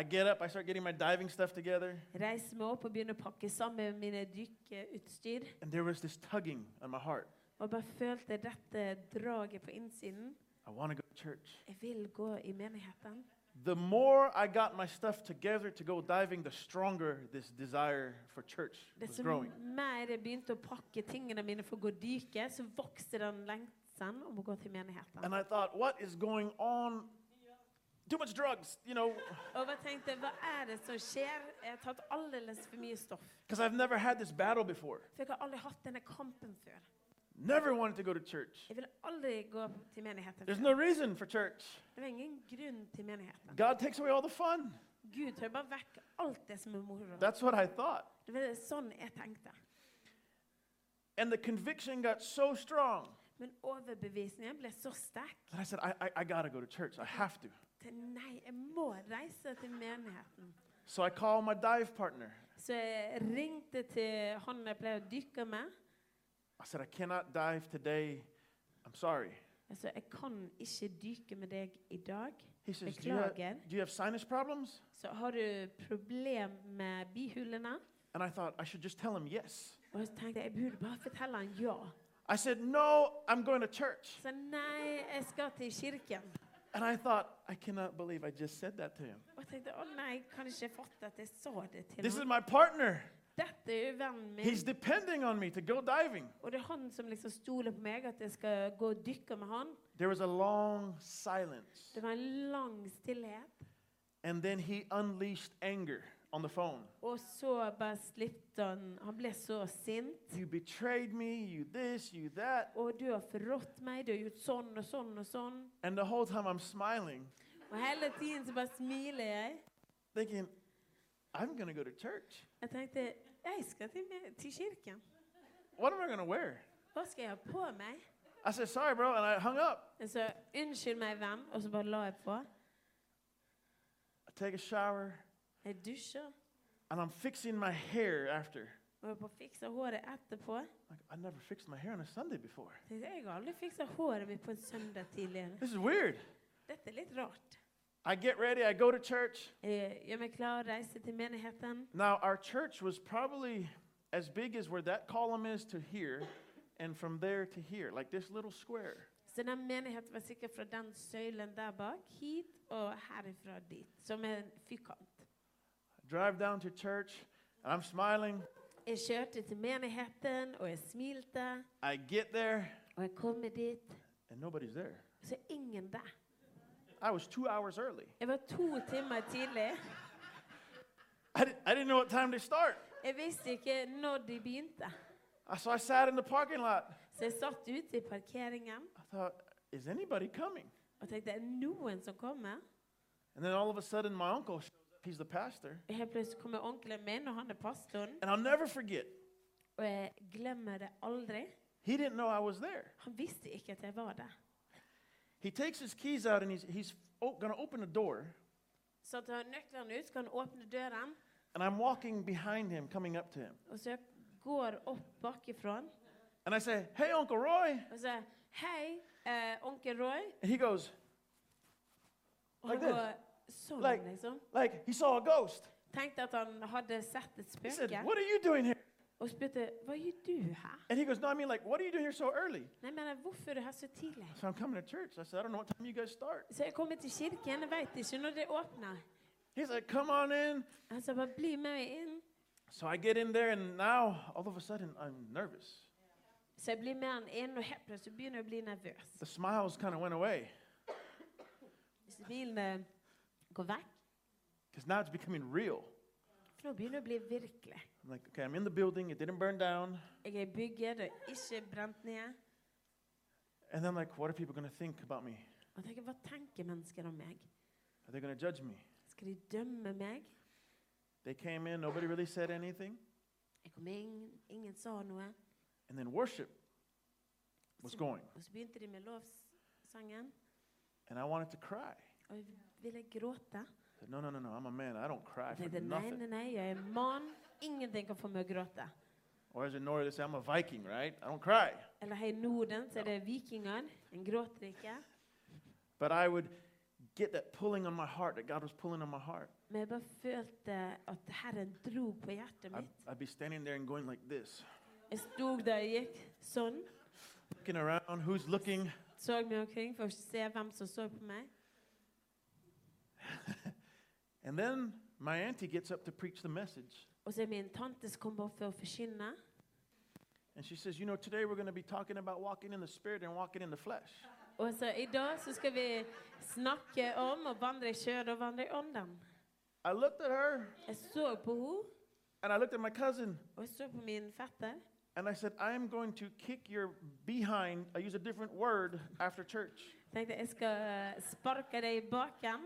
[SPEAKER 2] I get up, I start getting my diving stuff together,
[SPEAKER 4] Reiser meg opp og begynner å pakke sammen mine dykkeutstyr.
[SPEAKER 2] and there was this tugging on my heart.
[SPEAKER 4] Og bare følte dette draget på innsiden.
[SPEAKER 2] I want to go to church.
[SPEAKER 4] Jeg vil gå i menigheten.
[SPEAKER 2] The more I got my stuff together to go diving, the stronger this desire for church was
[SPEAKER 4] Desto
[SPEAKER 2] growing.
[SPEAKER 4] mer jeg begynte å pakke tingene mine for å gå dyke, så vokste den lengselen om å gå til menigheten.
[SPEAKER 2] And I thought, What is going on? Too much drugs, you know,
[SPEAKER 4] Og jeg bare tenkte, hva er det som skjer? Jeg har tatt aldeles for mye stoff.
[SPEAKER 2] because I've never had this battle before.
[SPEAKER 4] For jeg har aldri hatt denne kampen før.
[SPEAKER 2] Never wanted to go to church.
[SPEAKER 4] Jeg ville aldri gå til menigheten
[SPEAKER 2] There's
[SPEAKER 4] før.
[SPEAKER 2] no reason for church.
[SPEAKER 4] Det var ingen grunn til menigheten.
[SPEAKER 2] God takes away all the fun.
[SPEAKER 4] Gud tar bare vekk alt det som er moro.
[SPEAKER 2] That's what I thought.
[SPEAKER 4] Det var sånn jeg tenkte.
[SPEAKER 2] And the conviction got so strong
[SPEAKER 4] Men overbevisningen ble så sterk.
[SPEAKER 2] that I said, I, I, I gotta go to church. I have to.
[SPEAKER 4] til Nei, jeg må reise til menigheten.
[SPEAKER 2] So I called my dive partner.
[SPEAKER 4] Så jeg ringte til han jeg pleier å dykke med.
[SPEAKER 2] I said, I cannot dive today. I'm sorry.
[SPEAKER 4] Jeg sa, jeg kan ikke dykke med deg i dag.
[SPEAKER 2] He says, do you, have,
[SPEAKER 4] Beklager.
[SPEAKER 2] do you have sinus problems?
[SPEAKER 4] Så har du problem med bihulene?
[SPEAKER 2] And I thought, I should just tell him yes.
[SPEAKER 4] Og så tenkte jeg, jeg burde bare fortelle han ja.
[SPEAKER 2] I said, No, I'm going to church.
[SPEAKER 4] Så nei, jeg skal til kirken.
[SPEAKER 2] And I thought, I cannot believe I just said that to him.
[SPEAKER 4] Og jeg tenkte å nei, kan ikke fatte at jeg sa det til
[SPEAKER 2] This is
[SPEAKER 4] ham.
[SPEAKER 2] my partner.
[SPEAKER 4] Dette er jo vennen min.
[SPEAKER 2] He's depending on me to go diving.
[SPEAKER 4] Og det er han som liksom stoler på meg, at jeg skal gå og dykke med han.
[SPEAKER 2] There was a long silence.
[SPEAKER 4] Det var en lang stillhet.
[SPEAKER 2] And then he unleashed anger on the phone.
[SPEAKER 4] Og så bare slippte han Han ble så sint.
[SPEAKER 2] You betrayed me, you this, you that.
[SPEAKER 4] Og du har forrådt meg, du har gjort sånn og sånn og sånn.
[SPEAKER 2] And the whole time I'm smiling,
[SPEAKER 4] Og hele tiden så bare smiler jeg.
[SPEAKER 2] thinking, I'm going to go to church.
[SPEAKER 4] Jeg tenkte jeg skal til, me- til kirken.
[SPEAKER 2] What am I going to wear?
[SPEAKER 4] Hva skal jeg ha på meg?
[SPEAKER 2] I said, sorry, bro. And I hung up.
[SPEAKER 4] Jeg sa unnskyld meg, hvem? Og så bare la jeg på.
[SPEAKER 2] I take a shower
[SPEAKER 4] Jeg dusjer.
[SPEAKER 2] and I'm fixing my hair after.
[SPEAKER 4] Og jeg bare fikser håret etterpå.
[SPEAKER 2] Like, I never fixed my hair on a Sunday before.
[SPEAKER 4] Tenkte, Jeg har aldri fiksa håret mitt på en søndag tidligere.
[SPEAKER 2] This is weird.
[SPEAKER 4] Dette er litt rart.
[SPEAKER 2] I get ready, I go to church.
[SPEAKER 4] Jeg gjør meg klar, reiser til menigheten.
[SPEAKER 2] Now, our church was probably as big as where that column is to here, and from there to here, like this little square.
[SPEAKER 4] Så den menigheten var sikkert fra den søylen der bak hit og herifra dit. Som en firkant.
[SPEAKER 2] I drive down to church, and I'm smiling.
[SPEAKER 4] Jeg kjørte til menigheten, og jeg smilte.
[SPEAKER 2] I get there,
[SPEAKER 4] Og jeg kommer dit,
[SPEAKER 2] and nobody's there.
[SPEAKER 4] og så er ingen der.
[SPEAKER 2] I was two hours early.
[SPEAKER 4] Jeg var to timer tidlig.
[SPEAKER 2] I, di- I didn't know what time to start.
[SPEAKER 4] Jeg visste ikke når de begynte.
[SPEAKER 2] I- So I sat in the parking lot.
[SPEAKER 4] Så jeg satt ute i parkeringen
[SPEAKER 2] I thought, is anybody coming?
[SPEAKER 4] og tenkte er det noen som kommer?
[SPEAKER 2] And then all of a sudden, my uncle shows up. He's the pastor.
[SPEAKER 4] Og Helt plutselig kommer onkelen min, og han er pastoren.
[SPEAKER 2] And I'll never forget,
[SPEAKER 4] Og jeg glemmer det aldri.
[SPEAKER 2] he didn't know I was there.
[SPEAKER 4] Han visste ikke at jeg var der.
[SPEAKER 2] He takes his keys out and he's, he's o- going to open the door.
[SPEAKER 4] Så tar han nøklene ut, så kan han åpne døren,
[SPEAKER 2] And I'm walking behind him, coming up to him.
[SPEAKER 4] og så går opp bakifra.
[SPEAKER 2] And I say, Hey, Uncle Roy.
[SPEAKER 4] Og så Hei, eh, onkel Roy.
[SPEAKER 2] And he goes,
[SPEAKER 4] Og han
[SPEAKER 2] Like this.
[SPEAKER 4] går sånn,
[SPEAKER 2] Like-
[SPEAKER 4] liksom.
[SPEAKER 2] Like, he saw a ghost.
[SPEAKER 4] Tenkte at han hadde sett et
[SPEAKER 2] He said,
[SPEAKER 4] spøke.
[SPEAKER 2] What are you doing here?
[SPEAKER 4] Og spurte hva gjør du her?
[SPEAKER 2] And he goes, No, I mean, like, what are you doing here so early?
[SPEAKER 4] Nei, men hvorfor er du her så tidlig?
[SPEAKER 2] So I'm coming to church. I said, I don't know what time you guys start.
[SPEAKER 4] Så jeg kommer til kirken, jeg veit ikke når det åpner.
[SPEAKER 2] He's like, Come on in.
[SPEAKER 4] Han sa bare bli med meg inn.
[SPEAKER 2] So I get in there, and now all of a sudden I'm nervous.
[SPEAKER 4] Så jeg blir med han inn, og helt plutselig begynner jeg å bli nervøs.
[SPEAKER 2] The smiles kind of went away
[SPEAKER 4] Smilene eh, går vekk,
[SPEAKER 2] because now it's becoming real.
[SPEAKER 4] for nå begynner det å bli virkelig.
[SPEAKER 2] I'm like, Okay, I'm in the building. It didn't burn down.
[SPEAKER 4] Jeg er bygget og ikke brent ned.
[SPEAKER 2] And then, like, what are people going to think about me?
[SPEAKER 4] Og jeg tenker, hva tenker mennesker om meg?
[SPEAKER 2] Are they going to judge me?
[SPEAKER 4] Skal de dømme meg?
[SPEAKER 2] They came in, nobody really said anything.
[SPEAKER 4] Jeg kom inn, ingen sa noe.
[SPEAKER 2] And then worship was going.
[SPEAKER 4] Og så begynte de med lovsangen,
[SPEAKER 2] And I wanted to cry. I
[SPEAKER 4] og jeg ville gråte.
[SPEAKER 2] said, no, no, no, no, I'm a man. I don't cry
[SPEAKER 4] Jeg
[SPEAKER 2] for
[SPEAKER 4] tenkte, nei,
[SPEAKER 2] nothing.
[SPEAKER 4] nei, nei, jeg er mann. Ingenting kan få meg å gråte.
[SPEAKER 2] Or as in Norway, they say, I'm a Viking, right? I don't cry.
[SPEAKER 4] Eller her i Norden så er det vikingene. En gråter ikke.
[SPEAKER 2] But I would get that pulling on my heart that God was pulling on my heart.
[SPEAKER 4] Men jeg bare følte at Herren dro på hjertet
[SPEAKER 2] I'd,
[SPEAKER 4] mitt.
[SPEAKER 2] I'd be standing there and going like this,
[SPEAKER 4] Jeg sto der og gikk sånn.
[SPEAKER 2] looking around, who's looking?
[SPEAKER 4] Så meg omkring for å se hvem som så på meg.
[SPEAKER 2] And then my auntie gets up to preach the message.
[SPEAKER 4] Og så er min tante som kommer opp for å forkynne.
[SPEAKER 2] And she says, You know, today we're going to be talking about walking in the spirit and walking in the flesh.
[SPEAKER 4] Og så i dag så skal vi snakke om å vandre i kjødet og vandre i ånden.
[SPEAKER 2] I looked at her
[SPEAKER 4] Jeg så på henne,
[SPEAKER 2] and I looked at my cousin
[SPEAKER 4] og jeg så på min fetter.
[SPEAKER 2] And I said, I am going to kick your behind. I use a different word after church.
[SPEAKER 4] Jeg tenkte jeg skal sparke deg i baken,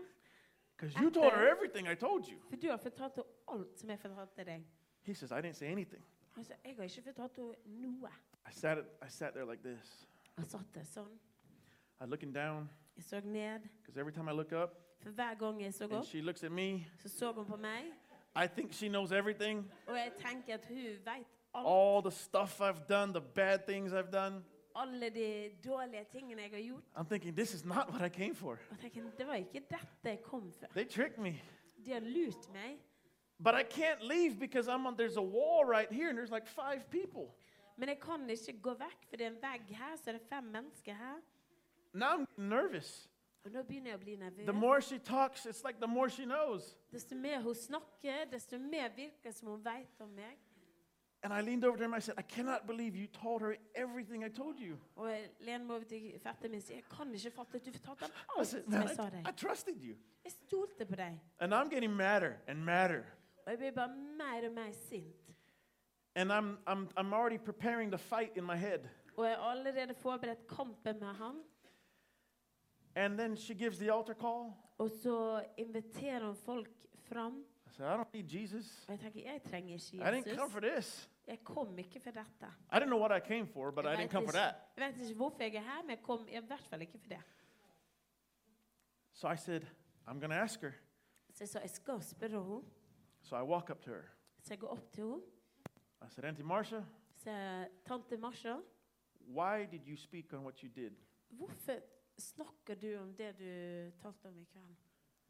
[SPEAKER 2] Because you told her
[SPEAKER 4] After?
[SPEAKER 2] everything I told you.
[SPEAKER 4] for du har fortalt henne alt som jeg fortalte deg.
[SPEAKER 2] He says, I didn't say anything.
[SPEAKER 4] Altså, jeg har ikke fortalt henne noe.
[SPEAKER 2] I sat, at- I sat there like this.
[SPEAKER 4] Jeg satt der sånn.
[SPEAKER 2] I'm looking down
[SPEAKER 4] Jeg så ned.
[SPEAKER 2] because every time I look up
[SPEAKER 4] For hver gang jeg så
[SPEAKER 2] and
[SPEAKER 4] opp,
[SPEAKER 2] she looks at me,
[SPEAKER 4] så så hun på meg.
[SPEAKER 2] I think she knows everything.
[SPEAKER 4] Og jeg tenker at hun vet alt.
[SPEAKER 2] All the stuff I've done, the bad things I've done.
[SPEAKER 4] alle de dårlige tingene jeg har gjort.
[SPEAKER 2] I'm thinking, this is not what I came for.
[SPEAKER 4] Og tenker, det var ikke dette jeg kom for.
[SPEAKER 2] They tricked me.
[SPEAKER 4] De har lurt meg.
[SPEAKER 2] But I can't leave because I'm on, there's a wall right here and there's like five people.
[SPEAKER 4] Men jeg kan ikke gå vekk, for det er en vegg her, så er det fem mennesker her.
[SPEAKER 2] Now I'm nervous.
[SPEAKER 4] Og nå begynner jeg å bli
[SPEAKER 2] The
[SPEAKER 4] nervøs.
[SPEAKER 2] more she talks, it's like the more she knows.
[SPEAKER 4] Desto mer hun snakker, desto mer virker det som hun vet om meg.
[SPEAKER 2] And I leaned over to him. I said, I cannot believe you told her everything I told you.
[SPEAKER 4] Og jeg lener meg over til fetteren min og sier, jeg kan ikke fatte at du fortalte ham
[SPEAKER 2] I
[SPEAKER 4] alt
[SPEAKER 2] said,
[SPEAKER 4] som
[SPEAKER 2] Man,
[SPEAKER 4] jeg sa
[SPEAKER 2] I,
[SPEAKER 4] deg.
[SPEAKER 2] I trusted you.
[SPEAKER 4] Jeg stolte på deg.
[SPEAKER 2] And I'm getting madder and madder.
[SPEAKER 4] Og jeg blir bare mer og mer sint.
[SPEAKER 2] And I'm, I'm, I'm already preparing the fight in my head.
[SPEAKER 4] Og jeg har allerede forberedt kampen med han.
[SPEAKER 2] And then she gives the altar call.
[SPEAKER 4] Og så inviterer hun folk fram.
[SPEAKER 2] I said, I don't need Jesus.
[SPEAKER 4] Og jeg tenker, jeg trenger
[SPEAKER 2] I
[SPEAKER 4] ikke
[SPEAKER 2] didn't come
[SPEAKER 4] Jesus.
[SPEAKER 2] for this.
[SPEAKER 4] Jeg kom ikke for dette.
[SPEAKER 2] I didn't know what I came for, but I
[SPEAKER 4] jeg,
[SPEAKER 2] didn't
[SPEAKER 4] vet
[SPEAKER 2] come for
[SPEAKER 4] ikke,
[SPEAKER 2] that.
[SPEAKER 4] jeg vet ikke hvorfor jeg er her, men jeg kom i hvert fall ikke for det.
[SPEAKER 2] So I said, I'm going to ask her.
[SPEAKER 4] Så jeg sa, jeg skal spørre henne.
[SPEAKER 2] So I walk up to her.
[SPEAKER 4] Så jeg går opp til henne.
[SPEAKER 2] I said, Auntie Marcia,
[SPEAKER 4] Så jeg, tante Marsha,
[SPEAKER 2] why did you speak on what you did?
[SPEAKER 4] hvorfor snakker du om det du talte om i kveld?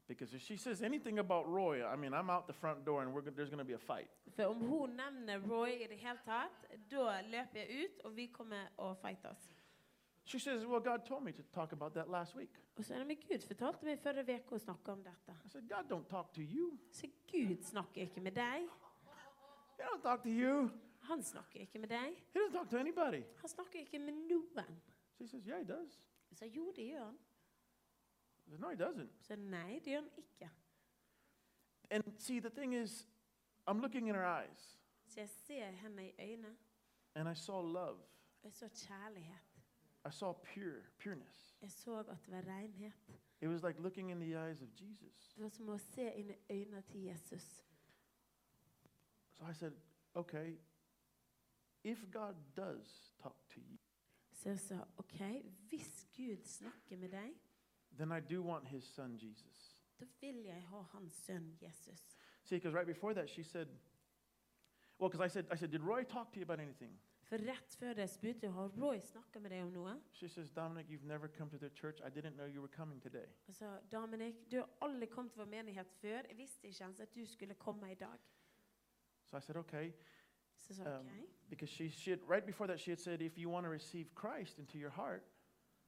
[SPEAKER 2] Because if she says anything about Roy, I mean, I'm out the front door and we're, go- there's going to be a fight.
[SPEAKER 4] For om hun nevner Roy i det hele tatt, da løper jeg ut, og vi kommer og fighter oss.
[SPEAKER 2] She says, Well, God told me to talk about that last week.
[SPEAKER 4] Og så er det men Gud fortalte meg forrige uke å snakke om dette.
[SPEAKER 2] I said, God don't talk to you.
[SPEAKER 4] Så Gud snakker ikke med deg.
[SPEAKER 2] He don't talk to you.
[SPEAKER 4] Han snakker ikke med deg.
[SPEAKER 2] He doesn't talk to anybody.
[SPEAKER 4] Han snakker ikke med noen.
[SPEAKER 2] She says, Yeah, he does.
[SPEAKER 4] Så jo, det gjør han.
[SPEAKER 2] I said, no, he doesn't.
[SPEAKER 4] Så nei, det gjør han ikke.
[SPEAKER 2] And see, the thing is, I'm looking in her eyes
[SPEAKER 4] Så jeg ser henne i øynene,
[SPEAKER 2] and I saw love.
[SPEAKER 4] og jeg så kjærlighet.
[SPEAKER 2] I saw pure pureness.
[SPEAKER 4] Jeg så at det var renhet.
[SPEAKER 2] It was like looking in the eyes of Jesus.
[SPEAKER 4] Det var som å se inn i øynene til Jesus.
[SPEAKER 2] So I said, Okay, if God does talk to you,
[SPEAKER 4] Så jeg sa OK, hvis Gud snakker med deg,
[SPEAKER 2] then I do want his son Jesus.
[SPEAKER 4] da vil jeg ha hans sønn Jesus.
[SPEAKER 2] See, because right before that, she said, Well, because I said, I said, Did Roy talk to you about anything?
[SPEAKER 4] For rett før det spurte jeg har Roy snakka med deg om noe.
[SPEAKER 2] She says, Dominic, you've never come to their church. I didn't know you were coming today.
[SPEAKER 4] Og sa Dominic, du har aldri kommet til vår menighet før. Jeg visste ikke ens at du skulle komme i dag.
[SPEAKER 2] So I said, okay,
[SPEAKER 4] Så jeg sa
[SPEAKER 2] Um,
[SPEAKER 4] OK.
[SPEAKER 2] because she, she had, right before that, she had said, if you want to receive Christ into your heart,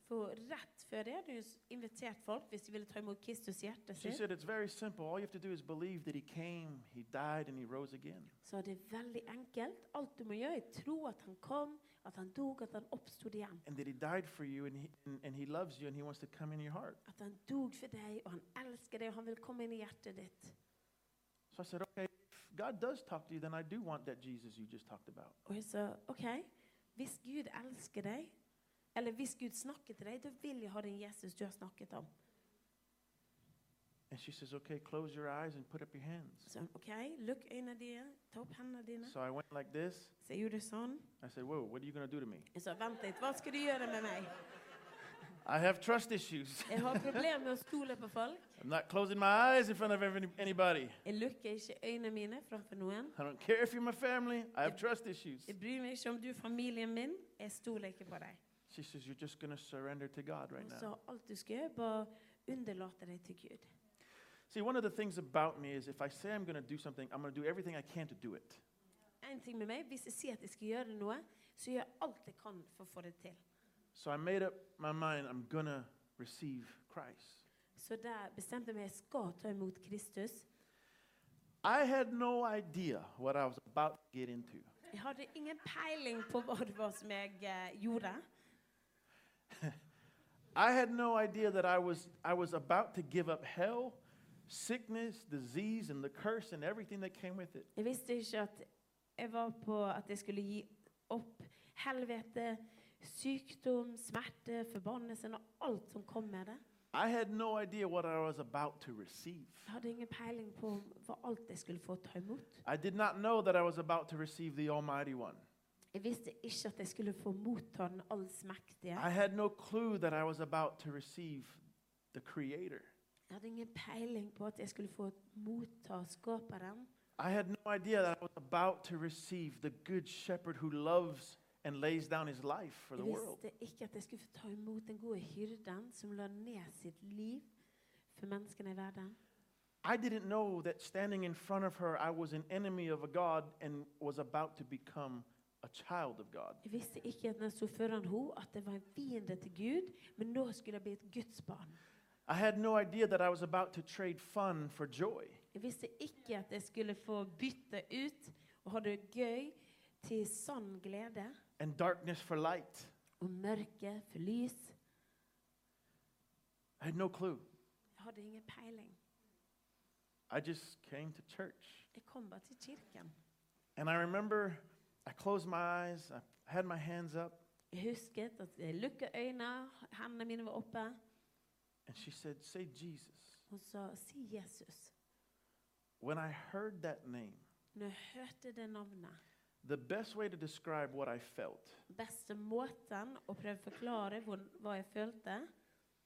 [SPEAKER 4] For rett før det hadde hun s- invitert folk hvis de ville ta imot Kristus i hjertet
[SPEAKER 2] she
[SPEAKER 4] sitt.
[SPEAKER 2] said, it's very simple. All you have to do is believe that he came, he died, and he rose again.
[SPEAKER 4] Så det er veldig enkelt. Alt du må gjøre, er tro at han kom, at han dog, at han oppstod igjen.
[SPEAKER 2] And that he died for you, and he, and, and he loves you, and he wants to come in your heart.
[SPEAKER 4] At han dog for deg, og han elsker deg, og han vil komme inn i hjertet ditt.
[SPEAKER 2] So I said, okay, if God does talk to you, then I do want that Jesus you just talked about.
[SPEAKER 4] Og jeg sa OK, hvis Gud elsker deg, eller hvis Gud snakker til deg, da vil jeg ha den Jesus du har snakket om.
[SPEAKER 2] And she says, okay, close your eyes and put up your hands.
[SPEAKER 4] Så han, OK, lukk øynene dine, ta opp hendene dine.
[SPEAKER 2] So I went like this.
[SPEAKER 4] Så jeg gjorde sånn.
[SPEAKER 2] I said, whoa, what are you going to do to me?
[SPEAKER 4] Jeg sa vent litt, hva skal du gjøre med meg?
[SPEAKER 2] I have trust issues.
[SPEAKER 4] Jeg har problemer med å stole på folk.
[SPEAKER 2] I'm not closing my eyes in front of every, anybody.
[SPEAKER 4] Jeg lukker ikke øynene mine framfor noen.
[SPEAKER 2] I don't care if you're my family. I have trust issues.
[SPEAKER 4] Jeg bryr meg ikke om du er familien min. Jeg stoler ikke på deg.
[SPEAKER 2] She says, You're just going to surrender to God right
[SPEAKER 4] Og så
[SPEAKER 2] now.
[SPEAKER 4] alt du skal gjøre, bare underlate deg til Gud.
[SPEAKER 2] See, one of the things about me is if I say I'm going to do something, I'm going to do everything I can to do it.
[SPEAKER 4] En ting med meg, Hvis jeg sier at jeg skal gjøre noe, så gjør jeg alt jeg kan for å få det til.
[SPEAKER 2] So I made up my mind I'm going to receive Christ.
[SPEAKER 4] Så der bestemte jeg meg jeg skal ta imot Kristus.
[SPEAKER 2] I had no idea what I was about to get into.
[SPEAKER 4] Jeg hadde ingen peiling på hva det var som jeg eh, gjorde.
[SPEAKER 2] I had no idea that I was, I was about to give up hell, sickness, disease, and the curse and everything that came with it.
[SPEAKER 4] Jeg visste ikke at jeg var på at jeg skulle gi opp helvete, sykdom, smerte, forbannelsen og alt som kom med det.
[SPEAKER 2] I had no idea what I was about to receive.
[SPEAKER 4] Jeg hadde ingen peiling på hva alt jeg skulle få ta imot.
[SPEAKER 2] I did not know that I was about to receive the Almighty One.
[SPEAKER 4] Jeg visste ikke at jeg skulle få motta den allsmektige.
[SPEAKER 2] I had no clue that I was about to receive the Creator.
[SPEAKER 4] Jeg hadde ingen peiling på at jeg skulle få motta skaperen.
[SPEAKER 2] I had no idea that I was about to receive the Good Shepherd who loves and lays down his life for the
[SPEAKER 4] Jeg
[SPEAKER 2] world.
[SPEAKER 4] visste ikke at jeg skulle få ta imot den gode hyrden som la ned sitt liv for menneskene i verden.
[SPEAKER 2] I didn't know that standing in front of her, I was an enemy of a God and was about to become a child of God.
[SPEAKER 4] Jeg visste ikke at når jeg sto foran henne, at jeg var en fiende til Gud, men nå skulle jeg bli et Guds barn.
[SPEAKER 2] I had no idea that I was about to trade fun for joy.
[SPEAKER 4] Jeg visste ikke at jeg skulle få bytte ut og ha det gøy til sann glede
[SPEAKER 2] and darkness for light.
[SPEAKER 4] og mørke for lys.
[SPEAKER 2] I had no clue.
[SPEAKER 4] Jeg hadde ingen peiling.
[SPEAKER 2] I just came to church.
[SPEAKER 4] Jeg kom bare til kirken.
[SPEAKER 2] And I remember I closed my eyes, I had my hands up,
[SPEAKER 4] Jeg husket at jeg lukket øynene, hendene mine var oppe.
[SPEAKER 2] and she said, Say Jesus.
[SPEAKER 4] Hun sa, 'Si Jesus'.
[SPEAKER 2] When I heard that name,
[SPEAKER 4] Når jeg hørte det navnet
[SPEAKER 2] the best way to describe what I felt
[SPEAKER 4] Beste måten å prøve å forklare hvor, hva jeg følte,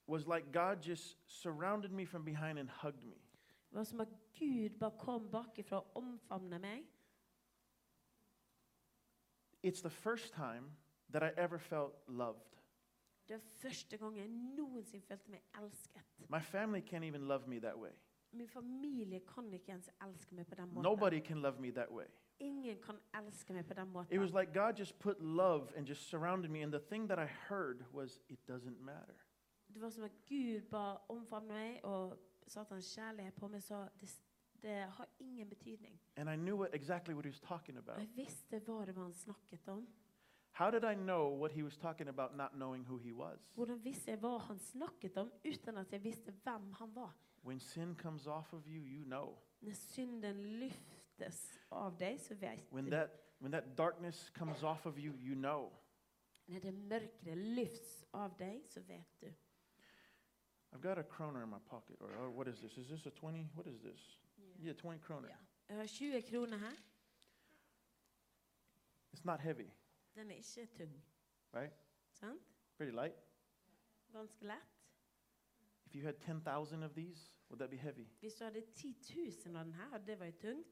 [SPEAKER 2] was like God just surrounded me from behind and hugged me.
[SPEAKER 4] var som at Gud bare kom bakifra og omfavnet meg.
[SPEAKER 2] It's the first time that I ever felt loved.
[SPEAKER 4] Det var første gang jeg noensinne følte meg elsket.
[SPEAKER 2] My family can't even love me that way.
[SPEAKER 4] Min familie kan ikke ens elske meg på den måten.
[SPEAKER 2] Nobody can love me that way.
[SPEAKER 4] Ingen kan elske meg på den
[SPEAKER 2] It
[SPEAKER 4] måten.
[SPEAKER 2] was like God just put love and just surrounded me. And the thing that I heard was, It doesn't matter.
[SPEAKER 4] Det var som at Gud bare omfavnet meg og satte hans kjærlighet på meg, så det, s- det har ingen betydning.
[SPEAKER 2] And I knew what, exactly what he was talking
[SPEAKER 4] Og
[SPEAKER 2] about.
[SPEAKER 4] jeg visste hva det var han snakket om.
[SPEAKER 2] How did I know what he was talking about not knowing who he was?
[SPEAKER 4] Hvordan visste jeg hva han snakket om, uten at jeg visste hvem han var?
[SPEAKER 2] When sin comes off of you, you know.
[SPEAKER 4] Når synden luftes av deg, så vet
[SPEAKER 2] When
[SPEAKER 4] du
[SPEAKER 2] that, when that darkness comes off of you, you know.
[SPEAKER 4] Når det mørke lufts av deg, så vet du.
[SPEAKER 2] I've got a kroner in my pocket. Or, or what is this? Is this a 20? What is this? Yeah, 20 kroner.
[SPEAKER 4] Ja. Jeg har 20 kroner her.
[SPEAKER 2] It's not heavy,
[SPEAKER 4] Den er ikke tung.
[SPEAKER 2] right?
[SPEAKER 4] Sant?
[SPEAKER 2] Pretty light.
[SPEAKER 4] Ganske lett.
[SPEAKER 2] If you had 10,000 of these, would that be heavy?
[SPEAKER 4] Hvis du hadde 10 000 av den her, og det var jo tungt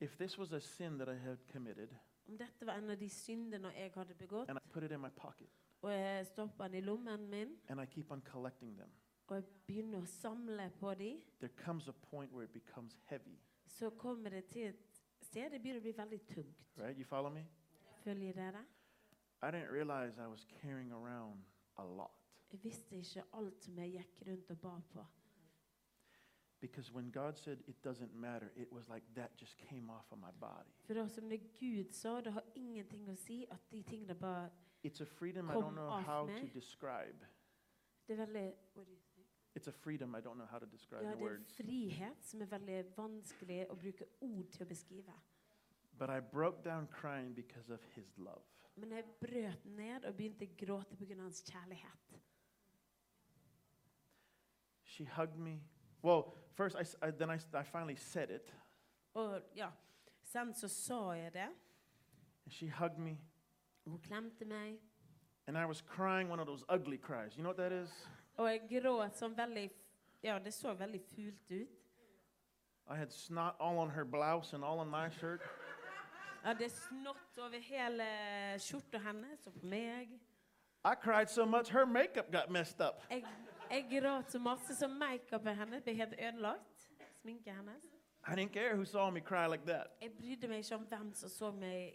[SPEAKER 2] If this was a sin that I had committed
[SPEAKER 4] Om dette var en av de syndene jeg hadde begått,
[SPEAKER 2] and I put it in my pocket
[SPEAKER 4] og jeg stoppa den i lommen min,
[SPEAKER 2] and I keep on collecting them,
[SPEAKER 4] og jeg begynner å samle på de,
[SPEAKER 2] there comes a point where it becomes heavy,
[SPEAKER 4] så kommer det til et sted det begynner å bli veldig tungt.
[SPEAKER 2] right? You follow me?
[SPEAKER 4] Følger dere?
[SPEAKER 2] I didn't realize I was carrying around a lot
[SPEAKER 4] Jeg visste ikke alt som jeg gikk rundt og ba på.
[SPEAKER 2] because when God said it doesn't matter, it was like that just came off of my body.
[SPEAKER 4] For det var som det Gud sa, det har ingenting å si at de tingene bare
[SPEAKER 2] It's a freedom I don't
[SPEAKER 4] Kom
[SPEAKER 2] know
[SPEAKER 4] off
[SPEAKER 2] how
[SPEAKER 4] me.
[SPEAKER 2] to describe.
[SPEAKER 4] Det er veldig what do you think?
[SPEAKER 2] It's a freedom I don't know how to describe
[SPEAKER 4] Ja,
[SPEAKER 2] in
[SPEAKER 4] det er en
[SPEAKER 2] words.
[SPEAKER 4] frihet som er veldig vanskelig å bruke ord til å beskrive.
[SPEAKER 2] But I broke down crying because of His love.
[SPEAKER 4] Men jeg brøt ned og begynte å gråte pga. hans kjærlighet.
[SPEAKER 2] She hugged me. Well, first I, s- I- then I, s- I finally said it,
[SPEAKER 4] Og ja, Sen så sa jeg det.
[SPEAKER 2] and she hugged me,
[SPEAKER 4] Hun klemte meg.
[SPEAKER 2] and I was crying one of those ugly cries. You know what that is?
[SPEAKER 4] Og jeg gråt sånn veldig Ja, det så veldig fult ut.
[SPEAKER 2] I had snot all on her blouse and all on my shirt.
[SPEAKER 4] Jeg hadde snott over hele skjorta hennes og på meg.
[SPEAKER 2] I cried so much her makeup got messed up.
[SPEAKER 4] Jeg, jeg gråt så masse, så makeupen hennes ble helt ødelagt. Sminken hennes.
[SPEAKER 2] I didn't care who saw me cry like that.
[SPEAKER 4] Jeg brydde meg ikke om hvem som så meg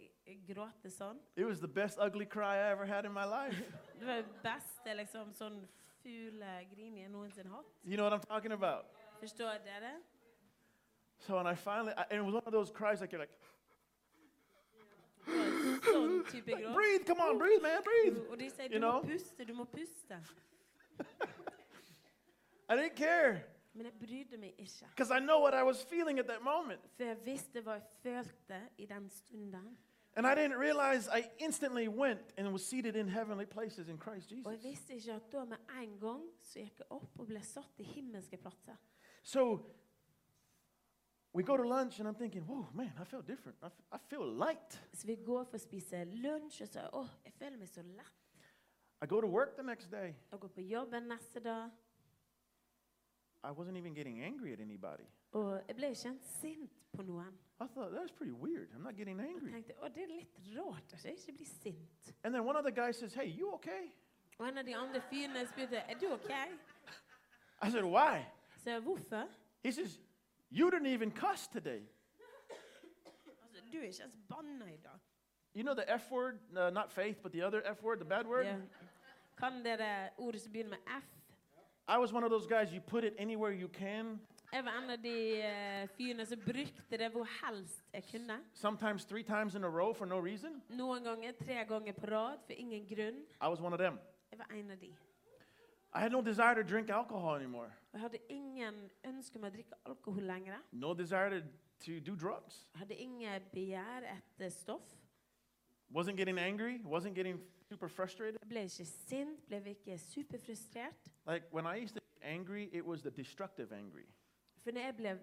[SPEAKER 4] gråte sånn.
[SPEAKER 2] It was the best ugly cry I ever had in my life.
[SPEAKER 4] Det var det beste liksom, sånn fuglegrin jeg noensinne har hatt.
[SPEAKER 2] you know what I'm talking about?
[SPEAKER 4] Forstår dere?
[SPEAKER 2] So, and I finally, I, and it was one of those cries like you're like,
[SPEAKER 4] Det var en Sånn type
[SPEAKER 2] like,
[SPEAKER 4] gråt.
[SPEAKER 2] breathe, come on, breathe, man, breathe.
[SPEAKER 4] Og de sier
[SPEAKER 2] You
[SPEAKER 4] du må
[SPEAKER 2] know?
[SPEAKER 4] puste, du må puste.
[SPEAKER 2] I didn't care
[SPEAKER 4] Men jeg brydde meg ikke.
[SPEAKER 2] because I know what I was feeling at that moment.
[SPEAKER 4] For jeg visste hva jeg følte i den stunden.
[SPEAKER 2] And I didn't realize I instantly went and was seated in heavenly places in Christ
[SPEAKER 4] Og
[SPEAKER 2] Jesus.
[SPEAKER 4] jeg visste ikke at da med en gang så gikk jeg opp og ble satt i himmelske plasser.
[SPEAKER 2] So we go to lunch, and I'm thinking, whoa, man, I feel different. I, f- I feel light.
[SPEAKER 4] Så vi går for å spise lunsj, og så åh, jeg føler meg så lett.
[SPEAKER 2] I go to work the next day.
[SPEAKER 4] Jeg går på jobben neste dag,
[SPEAKER 2] I wasn't even getting angry at anybody.
[SPEAKER 4] og jeg ble ikke ens sint på noen.
[SPEAKER 2] I thought that was pretty weird. I'm not getting
[SPEAKER 4] Og
[SPEAKER 2] angry.
[SPEAKER 4] tenkte, å, det er litt rart at jeg ikke blir sint.
[SPEAKER 2] And then one other guy says, "Hey, you okay?"
[SPEAKER 4] Og en av de andre fyrene spurte, er du ok?
[SPEAKER 2] I said, "Why?"
[SPEAKER 4] Så jeg, hvorfor?
[SPEAKER 2] He says, "You didn't even cuss today."
[SPEAKER 4] Altså, du er ikke ens banna i dag.
[SPEAKER 2] You know the F word, uh, not faith, but the other F word, the bad word.
[SPEAKER 4] Ja. Kan dere ordet som begynner med F?
[SPEAKER 2] I was one of those guys, you put it anywhere you can,
[SPEAKER 4] Jeg var en av de eh, fyrene som brukte det hvor helst jeg kunne.
[SPEAKER 2] sometimes three times in a row for no reason.
[SPEAKER 4] Noen ganger tre ganger på rad for ingen grunn.
[SPEAKER 2] I was one of them.
[SPEAKER 4] Jeg var en av de.
[SPEAKER 2] I had no desire to drink alcohol anymore,
[SPEAKER 4] Og jeg hadde ingen ønske om å drikke alkohol lenger.
[SPEAKER 2] no desire to, to do drugs.
[SPEAKER 4] Jeg hadde ingen begjær etter stoff.
[SPEAKER 2] Wasn't getting angry, wasn't getting super frustrated.
[SPEAKER 4] Jeg ble ikke sint, ble ikke superfrustrert.
[SPEAKER 2] Like when I used to get angry, it was the destructive angry.
[SPEAKER 4] For når jeg ble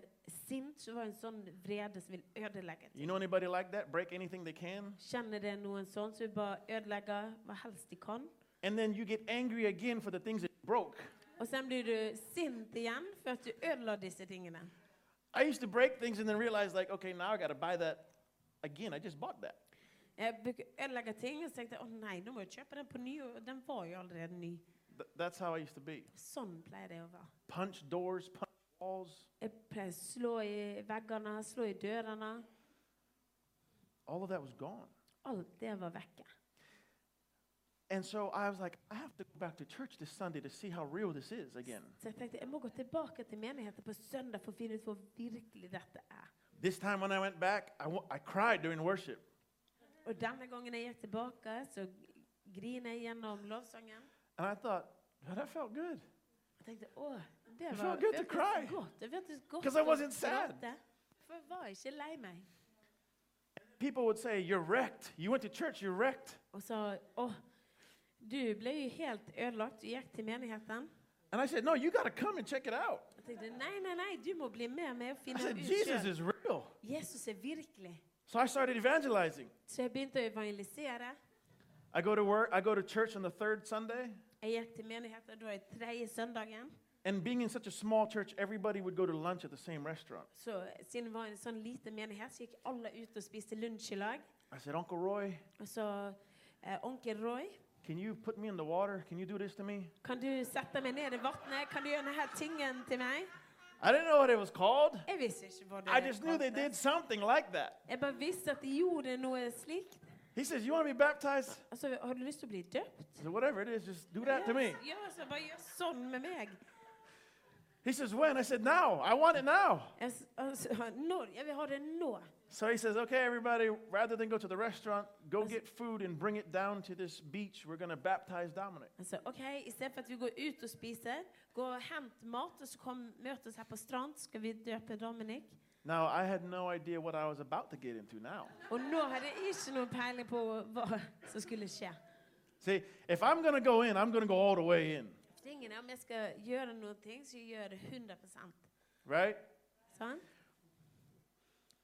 [SPEAKER 4] sint, så var det en sånn vrede som vil ødelegge. ting.
[SPEAKER 2] You know anybody like that? Break anything they can?
[SPEAKER 4] Kjenner det noen sånn, så vil bare ødelegge hva helst de kan.
[SPEAKER 2] And then you get angry again for the things that you broke.
[SPEAKER 4] Og sen blir du sint igjen for at du ødela disse tingene.
[SPEAKER 2] I used to break things and then realize, like, okay, now I got to buy that again. I just bought that.
[SPEAKER 4] Jeg bruker ødelegge ting, og så tenkte jeg å nei, nå må jeg kjøpe den på ny. Og den var jo allerede ny.
[SPEAKER 2] Th- that's how I used to be.
[SPEAKER 4] Sånn pleier det å være.
[SPEAKER 2] Punch doors, punch walls,
[SPEAKER 4] Jeg pleier å slå i veggene, slå i dørene.
[SPEAKER 2] all of that was gone.
[SPEAKER 4] Alt det var vekke.
[SPEAKER 2] And so I was like, I have to go back to church this Sunday to see how real this is again.
[SPEAKER 4] Så jeg tenkte jeg må gå tilbake til menigheten på søndag for å finne ut hvor virkelig dette er.
[SPEAKER 2] This time when I went back, I wa- I cried during worship.
[SPEAKER 4] Og denne gangen jeg gikk tilbake, så griner jeg gjennom lovsangen.
[SPEAKER 2] And I thought, "Man, that felt good.
[SPEAKER 4] Jeg tenkte å, det
[SPEAKER 2] It
[SPEAKER 4] var
[SPEAKER 2] felt good to
[SPEAKER 4] føltes
[SPEAKER 2] cry.
[SPEAKER 4] godt. Det føltes godt
[SPEAKER 2] 'Cause I
[SPEAKER 4] å
[SPEAKER 2] wasn't sad.
[SPEAKER 4] gråte. For jeg var ikke lei meg.
[SPEAKER 2] People would say, You're wrecked. You went to church, you're wrecked.
[SPEAKER 4] Og sa å, du ble jo helt ødelagt. Du gikk til menigheten.
[SPEAKER 2] And I said, No, you got to come and check it out.
[SPEAKER 4] Jeg tenkte nei, nei, nei, du må bli med meg og
[SPEAKER 2] I
[SPEAKER 4] finne
[SPEAKER 2] said,
[SPEAKER 4] ut
[SPEAKER 2] Jesus
[SPEAKER 4] selv.
[SPEAKER 2] is real.
[SPEAKER 4] Jesus er virkelig.
[SPEAKER 2] So I started evangelizing.
[SPEAKER 4] Så jeg begynte å evangelisere.
[SPEAKER 2] I go to work, I go to church on the third Sunday.
[SPEAKER 4] Jeg gikk til menigheten da i tredje søndagen.
[SPEAKER 2] And being in such a small church, everybody would go to lunch at the same restaurant.
[SPEAKER 4] Så siden det var en sånn liten menighet, så gikk alle ut og spiste lunsj i lag.
[SPEAKER 2] I said, Uncle Roy,
[SPEAKER 4] Og så eh, onkel Roy,
[SPEAKER 2] can you put me in the water? Can you do this to me?
[SPEAKER 4] kan du sette meg ned i vannet? Kan du gjøre denne tingen til meg?
[SPEAKER 2] I didn't know what it was called.
[SPEAKER 4] Jeg visste ikke hva det
[SPEAKER 2] I just knew they did
[SPEAKER 4] kaltes.
[SPEAKER 2] something like that.
[SPEAKER 4] Jeg bare visste at de gjorde noe slikt.
[SPEAKER 2] He says, You want to be baptized?
[SPEAKER 4] Altså, har du lyst til å bli døpt?
[SPEAKER 2] I said, Whatever it is, just do that to me.
[SPEAKER 4] Ja, så bare gjør sånn med meg.
[SPEAKER 2] He says, When? I said, Now. I want it now.
[SPEAKER 4] Jeg, s- altså, når, jeg vil ha det nå.
[SPEAKER 2] So he says, okay, everybody, rather than go to the restaurant, go
[SPEAKER 4] That's-
[SPEAKER 2] get food and bring it down to this beach. We're going to baptize Dominic.
[SPEAKER 4] Altså, ok, I stedet for at vi går ut og spiser, gå og hent mat, og så kom, møt oss her på strand, skal vi døpe Dominik.
[SPEAKER 2] Now, I had no idea what I was about to get into now.
[SPEAKER 4] Og nå hadde jeg ikke noen peiling på hva som skulle skje.
[SPEAKER 2] See, if I'm going to go in, I'm going to go all the way in,
[SPEAKER 4] Tingen er om jeg skal gjøre noen ting, så gjør jeg det 100
[SPEAKER 2] right?
[SPEAKER 4] Sånn?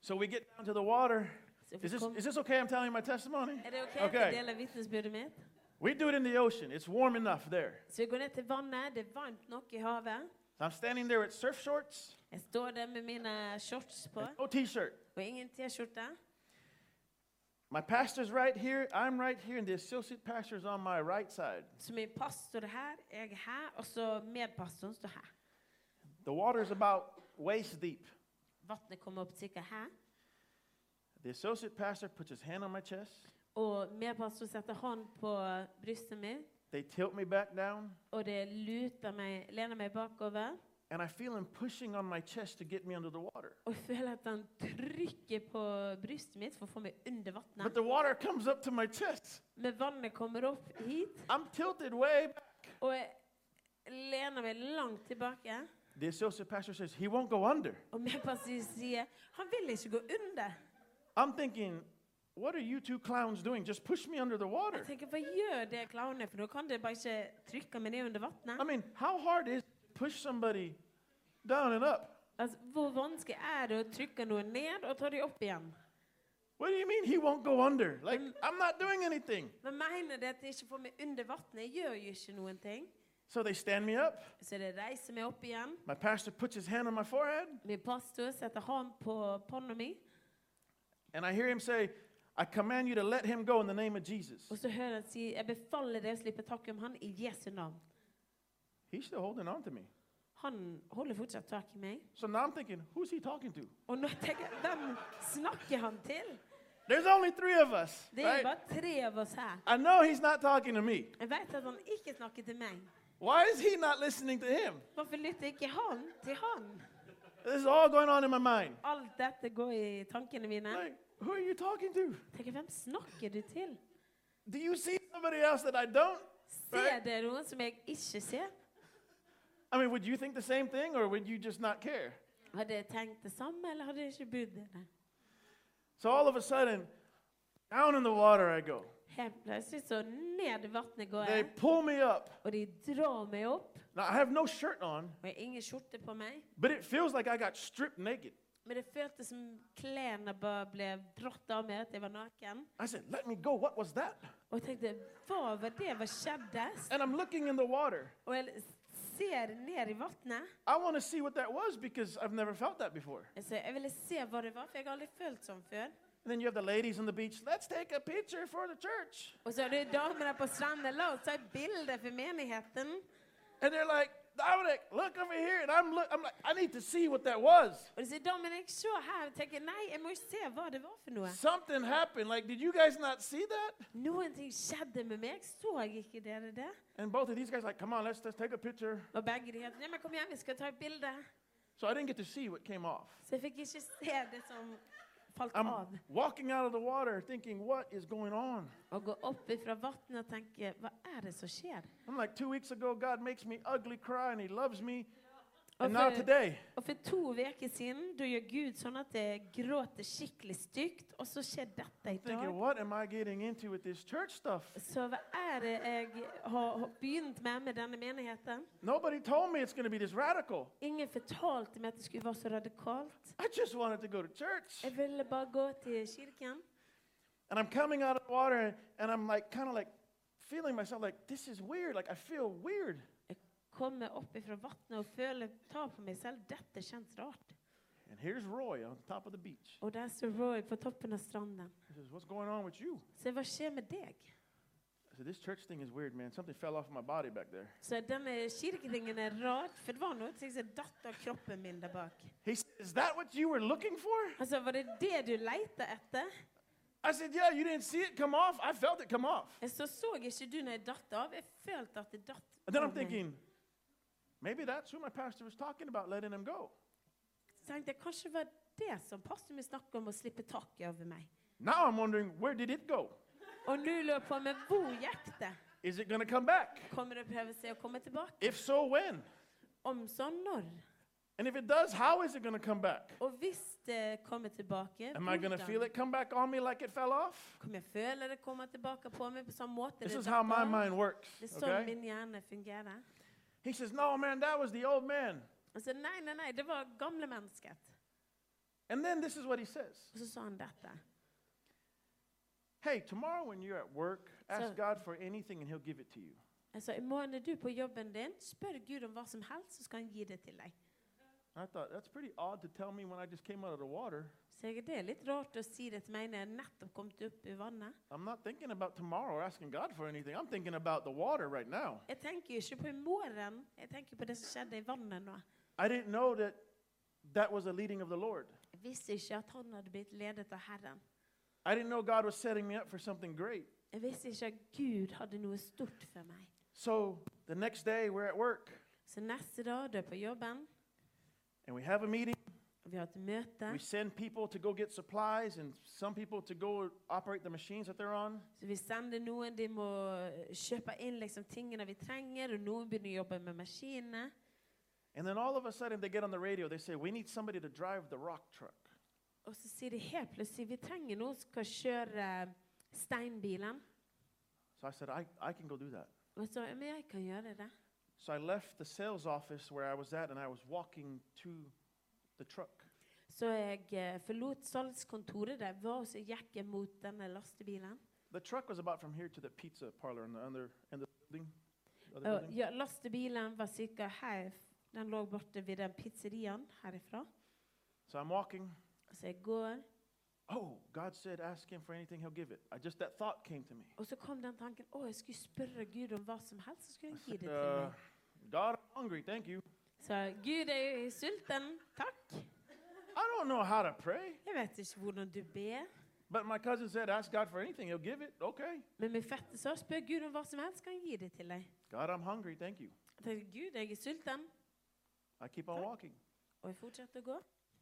[SPEAKER 2] So we get down to the water.
[SPEAKER 4] Så vi
[SPEAKER 2] Is this,
[SPEAKER 4] kom-
[SPEAKER 2] is this okay? I'm telling you my testimony?
[SPEAKER 4] er det OK at
[SPEAKER 2] Okay.
[SPEAKER 4] jeg deler vitnesbyrdet mitt?
[SPEAKER 2] We do it in the ocean. It's warm enough there.
[SPEAKER 4] Så jeg går ned til vannet. Det er varmt nok i havet.
[SPEAKER 2] I'm standing there with surf shorts,
[SPEAKER 4] Jeg står der med mine shorts på
[SPEAKER 2] and no t shirt.
[SPEAKER 4] og ingen T-skjorte.
[SPEAKER 2] My pastor's right here, I'm right here, and the associate pastor's on my right side.
[SPEAKER 4] Så min pastor er her, jeg er her, og så medpastoren står her.
[SPEAKER 2] The water's about waist deep.
[SPEAKER 4] Vannet kommer opp sikkert her.
[SPEAKER 2] The associate pastor puts his hand on my chest.
[SPEAKER 4] Og medpastoren setter hånd på brystet mitt,
[SPEAKER 2] They tilt me back down,
[SPEAKER 4] og det luter meg, lener meg bakover.
[SPEAKER 2] and I feel him pushing on my chest to get me under the water.
[SPEAKER 4] Og jeg føler at han trykker på brystet mitt for å få meg under
[SPEAKER 2] But
[SPEAKER 4] vannet.
[SPEAKER 2] the water comes up to my chest.
[SPEAKER 4] Men vannet kommer opp hit,
[SPEAKER 2] I'm tilted way back.
[SPEAKER 4] og jeg lener meg langt tilbake.
[SPEAKER 2] The associate pastor says, He won't go under.
[SPEAKER 4] Og medpastoren sier han vil ikke gå under.
[SPEAKER 2] I'm thinking, What are you two clowns doing? Just push me under the water.
[SPEAKER 4] Jeg tenker, Hva gjør det klovnet? For nå kan det bare ikke trykke meg ned under
[SPEAKER 2] I
[SPEAKER 4] vannet.
[SPEAKER 2] mean, how hard is it to push somebody down and up?
[SPEAKER 4] Altså, hvor vanskelig er det å trykke noen ned og ta dem opp igjen?
[SPEAKER 2] What do you mean he won't go under? Like, I'm not doing anything.
[SPEAKER 4] Men mener det at jeg ikke får meg under vannet? Jeg gjør jo ikke noen ting.
[SPEAKER 2] So they stand me up.
[SPEAKER 4] Så det reiser meg opp igjen.
[SPEAKER 2] My pastor puts his hand on my forehead,
[SPEAKER 4] Min pastor setter hånd på panna mi,
[SPEAKER 2] and I hear him say, I command you to let him go in the name of Jesus.
[SPEAKER 4] og så hører han si Jeg befaler deg å slippe tak om han i Jesu navn.
[SPEAKER 2] He's still holding on to me.
[SPEAKER 4] Han holder fortsatt tak i meg.
[SPEAKER 2] So now I'm thinking, who's he talking to?
[SPEAKER 4] Og nå tenker jeg Hvem snakker han til?
[SPEAKER 2] There's only three of us.
[SPEAKER 4] Det er
[SPEAKER 2] Right?
[SPEAKER 4] jo bare tre av oss her.
[SPEAKER 2] I know he's not talking to me.
[SPEAKER 4] Jeg vet at han ikke snakker til meg.
[SPEAKER 2] Why is he not listening to him?
[SPEAKER 4] Hvorfor lytter ikke han til han?
[SPEAKER 2] This is all going on in my mind.
[SPEAKER 4] Alt dette går i tankene mine.
[SPEAKER 2] Like, who are you talking to?
[SPEAKER 4] Tenker, hvem snakker du til?
[SPEAKER 2] Do you see somebody else that I don't?
[SPEAKER 4] Ser det noen som jeg ikke ser?
[SPEAKER 2] I mean, would you think the same thing or would you just not care?
[SPEAKER 4] Hadde jeg tenkt det samme, eller hadde jeg ikke brydd meg?
[SPEAKER 2] So all of a sudden, down in the water I go.
[SPEAKER 4] Helt plutselig så ned i vannet går
[SPEAKER 2] They
[SPEAKER 4] jeg,
[SPEAKER 2] pull me up.
[SPEAKER 4] og de drar meg opp.
[SPEAKER 2] Now I have no shirt on,
[SPEAKER 4] Og jeg har ingen skjorte på meg,
[SPEAKER 2] but it feels like I got stripped naked.
[SPEAKER 4] men det føltes som klærne bare ble dratt av meg, at jeg var naken.
[SPEAKER 2] I said, "Let me go." What was that?
[SPEAKER 4] Og jeg tenkte, hva var det? Hva skjedde?
[SPEAKER 2] And I'm looking in the water.
[SPEAKER 4] Og jeg ser ned i vannet.
[SPEAKER 2] I want to see what that was because I've never felt that before.
[SPEAKER 4] Altså, jeg ville se hva det var, for jeg har aldri følt sånn før.
[SPEAKER 2] And then you have the ladies on the beach. Let's take a picture for the church.
[SPEAKER 4] Og så er det damene på stranden. La oss ta et bilde for menigheten.
[SPEAKER 2] And they're like, Dominic, look over here. And I'm look. I'm like, I need to see what that was.
[SPEAKER 4] Og de sier, Dominic, se her. Jeg tenker, nei, jeg må jo se hva det var for noe.
[SPEAKER 2] Something happened. Like, did you guys not see that?
[SPEAKER 4] Noen ting skjedde med meg. Så ikke dere det?
[SPEAKER 2] And both of these guys like, come on, let's let's take a picture.
[SPEAKER 4] Og begge de het, nei, men kom igjen, vi skal ta et bilde.
[SPEAKER 2] So I didn't get to see what came off.
[SPEAKER 4] Så jeg fikk ikke se det som falt
[SPEAKER 2] I'm
[SPEAKER 4] av.
[SPEAKER 2] walking out of the water, thinking, what is going on?
[SPEAKER 4] Å gå opp fra vannet og tenke, hva er det som skjer?
[SPEAKER 2] I'm like, two weeks ago, God makes me ugly cry, and He loves me.
[SPEAKER 4] Og
[SPEAKER 2] And now
[SPEAKER 4] for-
[SPEAKER 2] today,
[SPEAKER 4] Og for to uker siden, da gjør Gud sånn at jeg gråter skikkelig stygt, og så skjer dette i dag.
[SPEAKER 2] thinking, what am I getting into with this church stuff?
[SPEAKER 4] Så hva er det jeg har har begynt med med denne menigheten?
[SPEAKER 2] Nobody told me it's going to be this radical.
[SPEAKER 4] Ingen fortalte meg at det skulle være så radikalt.
[SPEAKER 2] I just wanted to go to church.
[SPEAKER 4] Jeg ville bare gå til kirken.
[SPEAKER 2] And I'm coming out of the water and I'm like, kind of like feeling myself like, this is weird. Like, I feel weird.
[SPEAKER 4] Jeg kommer opp fra vannet og føler tar på meg selv. Dette kjennes rart.
[SPEAKER 2] And here's Roy on top of the beach.
[SPEAKER 4] Og der står Roy på toppen av stranden.
[SPEAKER 2] He says, What's going on with you?
[SPEAKER 4] Så hva skjer med deg?
[SPEAKER 2] I said, This church thing is weird, man. Something fell off my body back there.
[SPEAKER 4] Så denne kirkeringen er rar, for det var noe ting som datt av kroppen min der bak.
[SPEAKER 2] He said, Is that what you were looking for?
[SPEAKER 4] Altså, var det det du leita etter?
[SPEAKER 2] I said, Yeah, you didn't see it come off. I felt it come off.
[SPEAKER 4] Jeg så, så ikke du når jeg datt av. Jeg følte at det datt.
[SPEAKER 2] And then I'm
[SPEAKER 4] av meg.
[SPEAKER 2] thinking, Maybe that's who my pastor was talking about, letting him go.
[SPEAKER 4] Så tenkte jeg kanskje det var det som passet med snakket om å slippe taket over meg.
[SPEAKER 2] Now I'm wondering, Where did it go?
[SPEAKER 4] Og nå lurer jeg på meg hvor gikk det?
[SPEAKER 2] Is it going to come back?
[SPEAKER 4] Kommer det prøve seg å komme tilbake?
[SPEAKER 2] If so, when?
[SPEAKER 4] Om sånn når?
[SPEAKER 2] And if it does, how is it going to come back?
[SPEAKER 4] Og hvis det kommer tilbake,
[SPEAKER 2] Am I going to feel
[SPEAKER 4] hvordan?
[SPEAKER 2] it come back on me like it fell off?
[SPEAKER 4] Kommer jeg føle det kommer tilbake på meg på samme måte?
[SPEAKER 2] This
[SPEAKER 4] det
[SPEAKER 2] is how my
[SPEAKER 4] datt av?
[SPEAKER 2] mind works.
[SPEAKER 4] det er sånn
[SPEAKER 2] Okay?
[SPEAKER 4] min hjerne fungerer.
[SPEAKER 2] He says, No, man, that was the old man.
[SPEAKER 4] Altså, nei, nei, nei, det var gamle mennesket.
[SPEAKER 2] And then this is what he says
[SPEAKER 4] Og så sa han dette.
[SPEAKER 2] Hey, tomorrow when you're at work, ask
[SPEAKER 4] So-
[SPEAKER 2] God for anything and he'll give it to you.
[SPEAKER 4] Altså, i morgen er du på jobben din, spør Gud om hva som helst, så skal han gi det til deg.
[SPEAKER 2] I thought, That's pretty odd to tell me when I just came out of the water.
[SPEAKER 4] Så jeg, det er litt rart å si det til meg når jeg nettopp kom opp i vannet.
[SPEAKER 2] I'm not thinking about tomorrow or asking God for anything. I'm thinking about the water right now.
[SPEAKER 4] Jeg tenker jo ikke på i morgen, jeg tenker på det som skjedde i vannet nå.
[SPEAKER 2] I didn't know that that was a leading of the Lord.
[SPEAKER 4] Jeg visste ikke at han hadde blitt ledet av Herren.
[SPEAKER 2] I didn't know God was setting me up for something great.
[SPEAKER 4] Jeg visste ikke at Gud hadde noe stort for meg.
[SPEAKER 2] So the next day, we're at work
[SPEAKER 4] Så neste dag er jeg på jobben,
[SPEAKER 2] and we have a meeting.
[SPEAKER 4] og vi har et møte.
[SPEAKER 2] We send people to go get supplies and some people to go operate the machines that they're on.
[SPEAKER 4] Så vi sender noen, de må kjøpe inn liksom tingene vi trenger, og noen begynner å jobbe med maskinene.
[SPEAKER 2] And then all of a sudden they get on the radio. They say, We need somebody to drive the rock truck.
[SPEAKER 4] Og så sier de helt plutselig vi trenger noen som kan kjøre eh, steinbilen.
[SPEAKER 2] So I said, I, I can go do that.
[SPEAKER 4] Og så ja, men jeg kan gjøre det.
[SPEAKER 2] So I left the sales office where I was at and I was walking to the truck.
[SPEAKER 4] Så jeg eh, forlot salgskontoret der jeg var, og så gikk jeg mot denne lastebilen.
[SPEAKER 2] The truck was about from here to the pizza parlor on the other end of the building. Other
[SPEAKER 4] Og,
[SPEAKER 2] building.
[SPEAKER 4] ja, lastebilen var cirka her. Den lå borte ved den pizzeriaen herifra.
[SPEAKER 2] So I'm walking.
[SPEAKER 4] Så jeg går,
[SPEAKER 2] Oh, God said, ask him for anything, he'll give it. I just that thought came to me.
[SPEAKER 4] og så kom den tanken å, jeg skulle spørre Gud om hva som helst. Så skulle han gi det til
[SPEAKER 2] Uh,
[SPEAKER 4] meg.
[SPEAKER 2] God, I'm hungry. Thank you.
[SPEAKER 4] Så Gud jeg er jo sulten. Takk.
[SPEAKER 2] I don't know how to pray,
[SPEAKER 4] Jeg vet ikke hvordan du ber,
[SPEAKER 2] But my cousin said, Ask God for anything, He'll give it. Okay.
[SPEAKER 4] Men min fetter sa spør Gud om hva som helst, kan han gi det til deg.
[SPEAKER 2] God, I'm hungry. Thank you.
[SPEAKER 4] Jeg tenkte Gud, jeg er sulten.
[SPEAKER 2] I keep on
[SPEAKER 4] Huh?
[SPEAKER 2] walking.
[SPEAKER 4] Og jeg fortsatte å gå.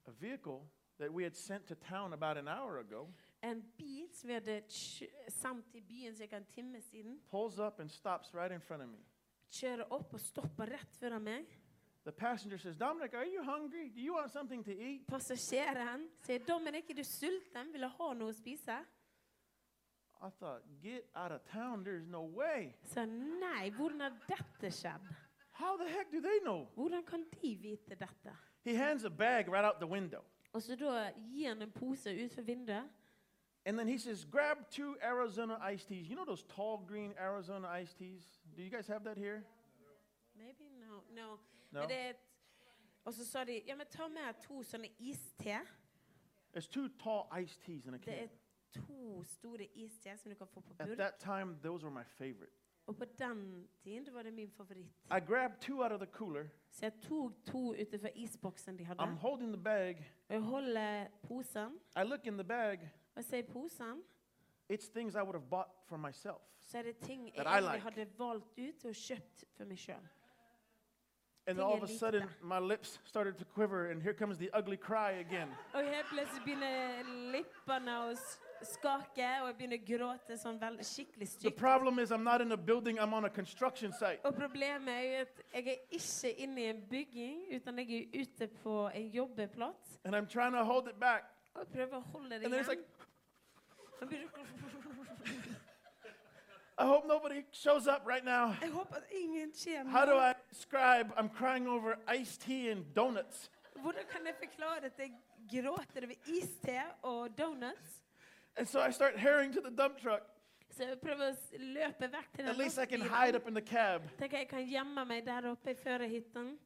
[SPEAKER 2] A vehicle that we had sent to town about an hour ago
[SPEAKER 4] En bil som vi hadde kjø- sendt til byen ca. en time siden,
[SPEAKER 2] pulls up and stops right in front of me.
[SPEAKER 4] kjører opp og stopper rett foran meg.
[SPEAKER 2] The passenger says, Dominic, are you hungry? Do you want something to eat?
[SPEAKER 4] Passasjeren sier, 'Dominic, er du sulten? Vil du ha noe å spise?'
[SPEAKER 2] I thought, Get out of town. There's no way.
[SPEAKER 4] Jeg sa, 'Nei, hvordan har dette skjedd?
[SPEAKER 2] How the heck do they know?
[SPEAKER 4] Hvordan kan de vite dette?'
[SPEAKER 2] He hands a bag right out the window.
[SPEAKER 4] Og så da gir han en pose utenfor vinduet.
[SPEAKER 2] And then he says, Grab two Arizona iced teas. You know those tall green Arizona iced teas? Do you guys have that here?
[SPEAKER 4] Maybe no, no.
[SPEAKER 2] No?
[SPEAKER 4] Men det er et, og så sa de, 'Ja, men ta med to sånne iste.'
[SPEAKER 2] There's two tall iced teas in a
[SPEAKER 4] Det
[SPEAKER 2] can.
[SPEAKER 4] er to store iste som du kan få på
[SPEAKER 2] At
[SPEAKER 4] burk.
[SPEAKER 2] that time, those were my favorite.
[SPEAKER 4] Og på den tiden da var det min favoritt.
[SPEAKER 2] I grabbed two out of the cooler.
[SPEAKER 4] Så jeg tok to utenfor isboksen de hadde.
[SPEAKER 2] I'm holding the bag.
[SPEAKER 4] Og jeg holder posen.
[SPEAKER 2] I look in the bag.
[SPEAKER 4] Og så i posen
[SPEAKER 2] It's things I would have bought for myself.
[SPEAKER 4] så er det ting jeg
[SPEAKER 2] That I
[SPEAKER 4] egentlig
[SPEAKER 2] like.
[SPEAKER 4] hadde valgt ut og kjøpt for meg sjøl.
[SPEAKER 2] And
[SPEAKER 4] Ting
[SPEAKER 2] all
[SPEAKER 4] jeg
[SPEAKER 2] of a
[SPEAKER 4] likte.
[SPEAKER 2] sudden, my lips started to quiver, and here comes the ugly cry again.
[SPEAKER 4] Og helt plutselig begynner leppene å s- skake, og jeg begynner å gråte sånn veldig skikkelig
[SPEAKER 2] The
[SPEAKER 4] stygt.
[SPEAKER 2] problem is, I'm not in a building, I'm on a construction site.
[SPEAKER 4] Og problemet er jo at jeg er ikke inne i en bygging, utan jeg er ute på en jobbeplass.
[SPEAKER 2] And I'm trying to hold it back.
[SPEAKER 4] Og jeg prøver å holde det
[SPEAKER 2] And then it's
[SPEAKER 4] igjen.
[SPEAKER 2] like,
[SPEAKER 4] Og begynner-
[SPEAKER 2] I hope nobody shows up right now.
[SPEAKER 4] Jeg håper at ingen skjer
[SPEAKER 2] How do
[SPEAKER 4] noe.
[SPEAKER 2] I describe I'm crying over iced tea and donuts?
[SPEAKER 4] Hvordan kan jeg forklare at jeg gråter over iste og donuts?
[SPEAKER 2] And so I start herring to the dump truck.
[SPEAKER 4] Så jeg prøver å s- løpe vekk til den
[SPEAKER 2] At least I can
[SPEAKER 4] lastebilen.
[SPEAKER 2] hide up in the cab.
[SPEAKER 4] Tenker jeg kan gjemme meg der oppe i førerhytten.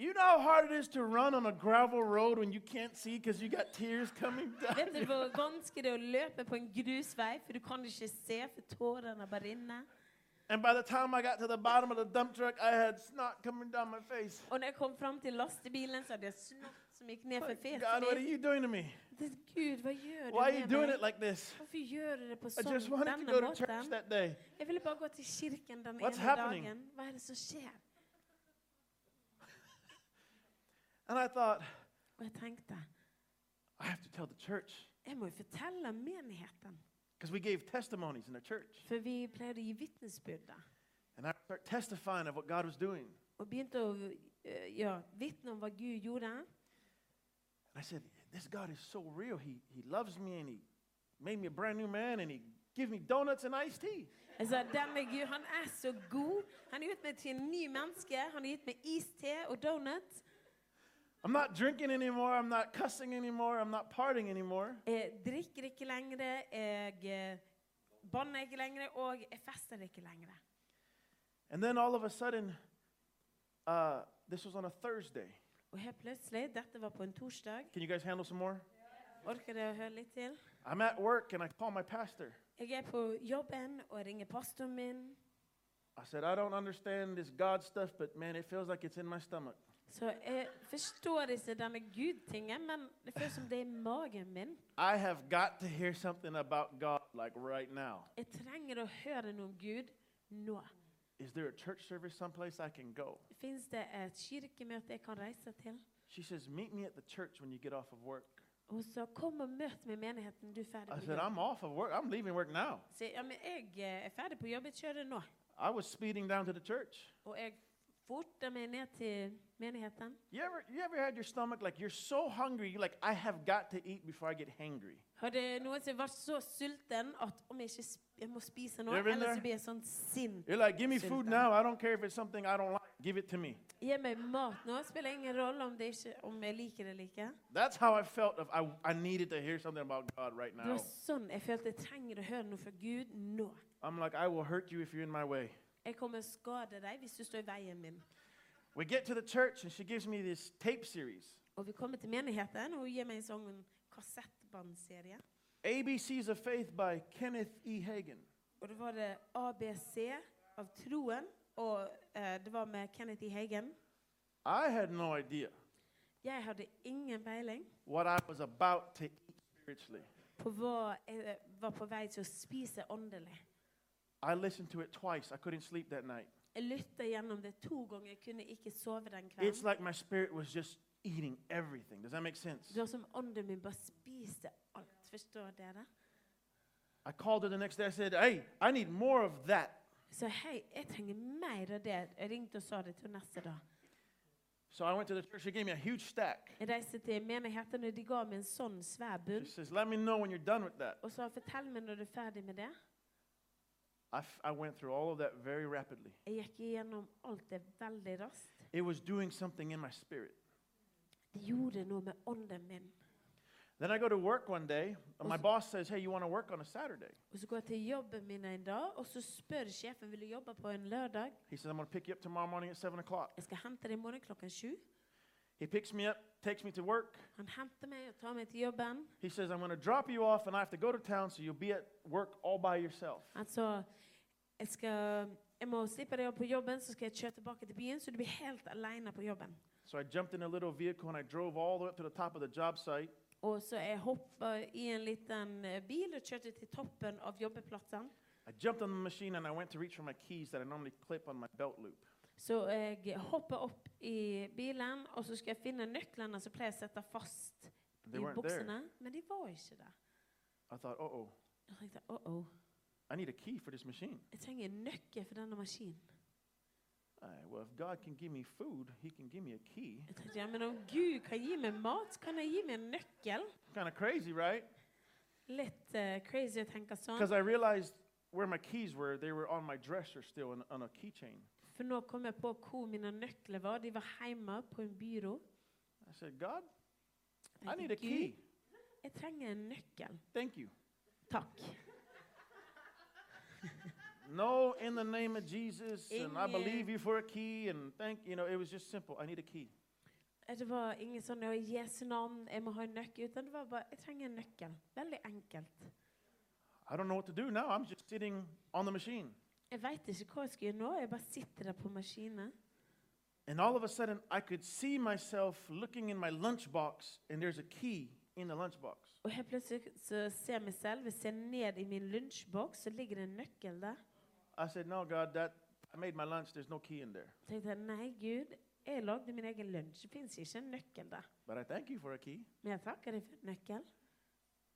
[SPEAKER 2] You know how hard it is to run on a gravel road when you can't see because you got tears coming down.
[SPEAKER 4] Vet du hvor vanskelig det er å løpe på en grusvei, for du kan ikke se, for tårene bare rinner.
[SPEAKER 2] And by the time I got to the bottom of the dump truck, I had snot coming down my face.
[SPEAKER 4] Og når jeg kom fram til lastebilen, så hadde jeg snott som gikk ned for
[SPEAKER 2] God, what are
[SPEAKER 4] fesen min.
[SPEAKER 2] you doing to me?
[SPEAKER 4] Det- Gud, hva gjør
[SPEAKER 2] Why are you
[SPEAKER 4] du
[SPEAKER 2] doing
[SPEAKER 4] med
[SPEAKER 2] it
[SPEAKER 4] meg?
[SPEAKER 2] like this?
[SPEAKER 4] Hvorfor gjør du det på
[SPEAKER 2] I just
[SPEAKER 4] sånn,
[SPEAKER 2] wanted to
[SPEAKER 4] denne
[SPEAKER 2] go to church
[SPEAKER 4] måten?
[SPEAKER 2] that day.
[SPEAKER 4] Jeg ville bare gå til kirken den
[SPEAKER 2] What's
[SPEAKER 4] ene
[SPEAKER 2] happening?
[SPEAKER 4] dagen. Hva er det som skjer?
[SPEAKER 2] And I thought,
[SPEAKER 4] Og jeg tenkte,
[SPEAKER 2] I have to tell the church
[SPEAKER 4] jeg må jo fortelle menigheten.
[SPEAKER 2] because we gave testimonies in the church.
[SPEAKER 4] For vi pleide å gi vitnesbyrde.
[SPEAKER 2] And I start testifying of what God was doing.
[SPEAKER 4] Og begynte å eh, ja, vitne om hva Gud gjorde.
[SPEAKER 2] And I said, This God is so real. He, he loves me and He made me a brand new man and He gave me donuts and iced tea.
[SPEAKER 4] Jeg sa, denne Gud, han er så god. Han har gjort meg til en ny menneske. Han har gitt meg iste og donut.
[SPEAKER 2] I'm not drinking anymore. I'm not cussing anymore. I'm not partying anymore.
[SPEAKER 4] Jeg drikker ikke lenger. Jeg eh, banner ikke lenger. Og jeg fester ikke lenger.
[SPEAKER 2] And then all of a sudden, uh, this was on a Thursday.
[SPEAKER 4] Og helt plutselig, dette var på en torsdag.
[SPEAKER 2] Can you guys handle some more?
[SPEAKER 4] Orker dere å høre litt til?
[SPEAKER 2] I'm at work and I call my pastor.
[SPEAKER 4] Jeg er på jobben og ringer pastoren min.
[SPEAKER 2] I said, I don't understand this God stuff, but man, it feels like it's in my stomach.
[SPEAKER 4] Så jeg forstår ikke denne Gud-tingen, men det føles som det er i magen min.
[SPEAKER 2] I have got to hear something about God like right now.
[SPEAKER 4] Jeg trenger å høre noe om Gud nå.
[SPEAKER 2] Is there a church service someplace I can go?
[SPEAKER 4] Fins det et kirkemøte jeg kan reise til?
[SPEAKER 2] She says, Meet me at the church when you get off of work.
[SPEAKER 4] Og så kom og møt meg i menigheten. Du er ferdig
[SPEAKER 2] I
[SPEAKER 4] på
[SPEAKER 2] said,
[SPEAKER 4] jobb.
[SPEAKER 2] I'm off of work. I'm leaving work now.
[SPEAKER 4] Så, ja, men jeg eh, er ferdig på jobb. Jeg kjører nå.
[SPEAKER 2] I was speeding down to the church.
[SPEAKER 4] Og jeg forter meg ned til menigheten.
[SPEAKER 2] You ever, you ever had your stomach like you're so hungry, you're like, I have got to eat before I get hangry?
[SPEAKER 4] Hadde noen som vært så sulten at om jeg ikke sp- jeg må spise nå,
[SPEAKER 2] You've been
[SPEAKER 4] ellers
[SPEAKER 2] there?
[SPEAKER 4] så blir jeg sånn sint.
[SPEAKER 2] You're like, give me food
[SPEAKER 4] Sometimes.
[SPEAKER 2] now. I don't care if it's something I don't like. Give it to me.
[SPEAKER 4] Gi meg mat nå. Spiller ingen rolle om, det ikke, om jeg liker det eller ikke.
[SPEAKER 2] That's how I felt. Of I, I needed to hear something about God right
[SPEAKER 4] Det
[SPEAKER 2] now.
[SPEAKER 4] var sånn jeg følte jeg trenger å høre noe fra Gud nå.
[SPEAKER 2] I'm like, I will hurt you if you're in my way.
[SPEAKER 4] Jeg kommer å skade deg hvis du står i veien min.
[SPEAKER 2] We get to the church, and she gives me this tape series
[SPEAKER 4] Og vi kommer til menigheten, og hun gir meg en sånn kassettbandserie.
[SPEAKER 2] ABCs of Faith by Kenneth E. Hagan.
[SPEAKER 4] Og det var det ABC av troen, og eh, det var med Kenneth E. Hagen.
[SPEAKER 2] I had no idea
[SPEAKER 4] Jeg hadde ingen peiling
[SPEAKER 2] what I was about to eat spiritually.
[SPEAKER 4] på hva jeg var på vei til å spise åndelig.
[SPEAKER 2] I listened to it twice. I couldn't sleep that night.
[SPEAKER 4] Jeg lytta gjennom det to ganger. Jeg kunne ikke sove den
[SPEAKER 2] It's
[SPEAKER 4] kvelden.
[SPEAKER 2] like my spirit was just eating everything. Does that make sense?
[SPEAKER 4] Det var som ånden min bare spiste alt. Forstår dere?
[SPEAKER 2] I called her the next day. I said, Hey, I need more of that.
[SPEAKER 4] Så hei, jeg trenger mer av det. Jeg ringte og sa det til neste dag.
[SPEAKER 2] So I went to the church. She gave me a huge stack.
[SPEAKER 4] Jeg reiste til menigheten, og de ga meg en sånn svær
[SPEAKER 2] She
[SPEAKER 4] bunn.
[SPEAKER 2] says, Let me know when you're done with that.
[SPEAKER 4] Og sa 'fortell meg når du er ferdig med det'.
[SPEAKER 2] I, f- I went through all of that very rapidly.
[SPEAKER 4] Jeg gikk igjennom alt det veldig raskt.
[SPEAKER 2] It was doing something in my spirit.
[SPEAKER 4] Det gjorde noe med ånden min.
[SPEAKER 2] Then I go to work one day. And my
[SPEAKER 4] Also-
[SPEAKER 2] boss says, Hey, you want to work on a Saturday?
[SPEAKER 4] Og så går jeg til jobben min en dag, og så spør sjefen vil du jobbe på en lørdag.
[SPEAKER 2] He says, I'm going to pick you up tomorrow morning at 7 o'clock.
[SPEAKER 4] Jeg skal hente deg i morgen klokken sju.
[SPEAKER 2] He picks me up, takes me to work.
[SPEAKER 4] Han henter meg og tar meg til jobben.
[SPEAKER 2] He says, I'm going to drop you off and I have to go to town, so you'll be at work all by yourself.
[SPEAKER 4] Han sa jeg, skal, jeg må slippe deg opp på jobben, så skal jeg kjøre tilbake til byen, så du blir helt alene på jobben.
[SPEAKER 2] So I jumped in a little vehicle and I drove all the way up to the top of the job site.
[SPEAKER 4] Og så jeg hoppa i en liten eh, bil og kjørte til toppen av jobbeplassen.
[SPEAKER 2] I jumped on the machine and I went to reach for my keys that I normally clip on my belt loop.
[SPEAKER 4] Så jeg hoppa opp i bilen, og så skal jeg finne nøklene som pleier å sette fast
[SPEAKER 2] They weren't
[SPEAKER 4] i
[SPEAKER 2] there.
[SPEAKER 4] buksene. Men de var ikke der.
[SPEAKER 2] I thought, uh oh,
[SPEAKER 4] Jeg tenkte oh oh,
[SPEAKER 2] I need a key for this machine.
[SPEAKER 4] jeg trenger en nøkkel for denne maskinen.
[SPEAKER 2] All right, well, if God can give me food, He can give me a key.
[SPEAKER 4] Jeg tenkte, ja, Men om Gud kan gi meg mat, kan han gi meg en nøkkel?
[SPEAKER 2] Kind of crazy, right?
[SPEAKER 4] Litt eh, crazy å tenke sånn.
[SPEAKER 2] Because I realized where my keys were, they were on my dresser still on, on a keychain.
[SPEAKER 4] For nå kom jeg på hvor mine nøkler var. De var hjemme på en byrå.
[SPEAKER 2] I said, God, I
[SPEAKER 4] Jeg tenkte,
[SPEAKER 2] need a key.
[SPEAKER 4] Gud, jeg trenger en nøkkel.
[SPEAKER 2] Thank you.
[SPEAKER 4] Takk.
[SPEAKER 2] No, in the name of Jesus, and I believe
[SPEAKER 4] Amen.
[SPEAKER 2] you for a key, and thank you know, it was just simple. I need a key.
[SPEAKER 4] Eh, Det var ingen sånn «Å, i Jesu navn, jeg må ha en nøkkel. Utan det var bare jeg trenger en nøkkel. Veldig enkelt.
[SPEAKER 2] I don't know what to do now. I'm just sitting on the machine.
[SPEAKER 4] Jeg veit ikke hva jeg skal gjøre nå. Jeg bare sitter der på maskinen.
[SPEAKER 2] And all of a sudden, I could see myself looking in my lunchbox, and there's a key in the lunchbox.
[SPEAKER 4] Og helt plutselig så ser jeg meg selv. Jeg ser ned i min lunsjboks, så ligger det en nøkkel der.
[SPEAKER 2] I said, No, God, that I made my lunch. There's no key in there.
[SPEAKER 4] Så tenkte jeg nei, Gud, jeg lagde min egen lunsj. Det fins ikke en nøkkel der.
[SPEAKER 2] But I thank you for a key.
[SPEAKER 4] Men jeg takker deg for en nøkkel.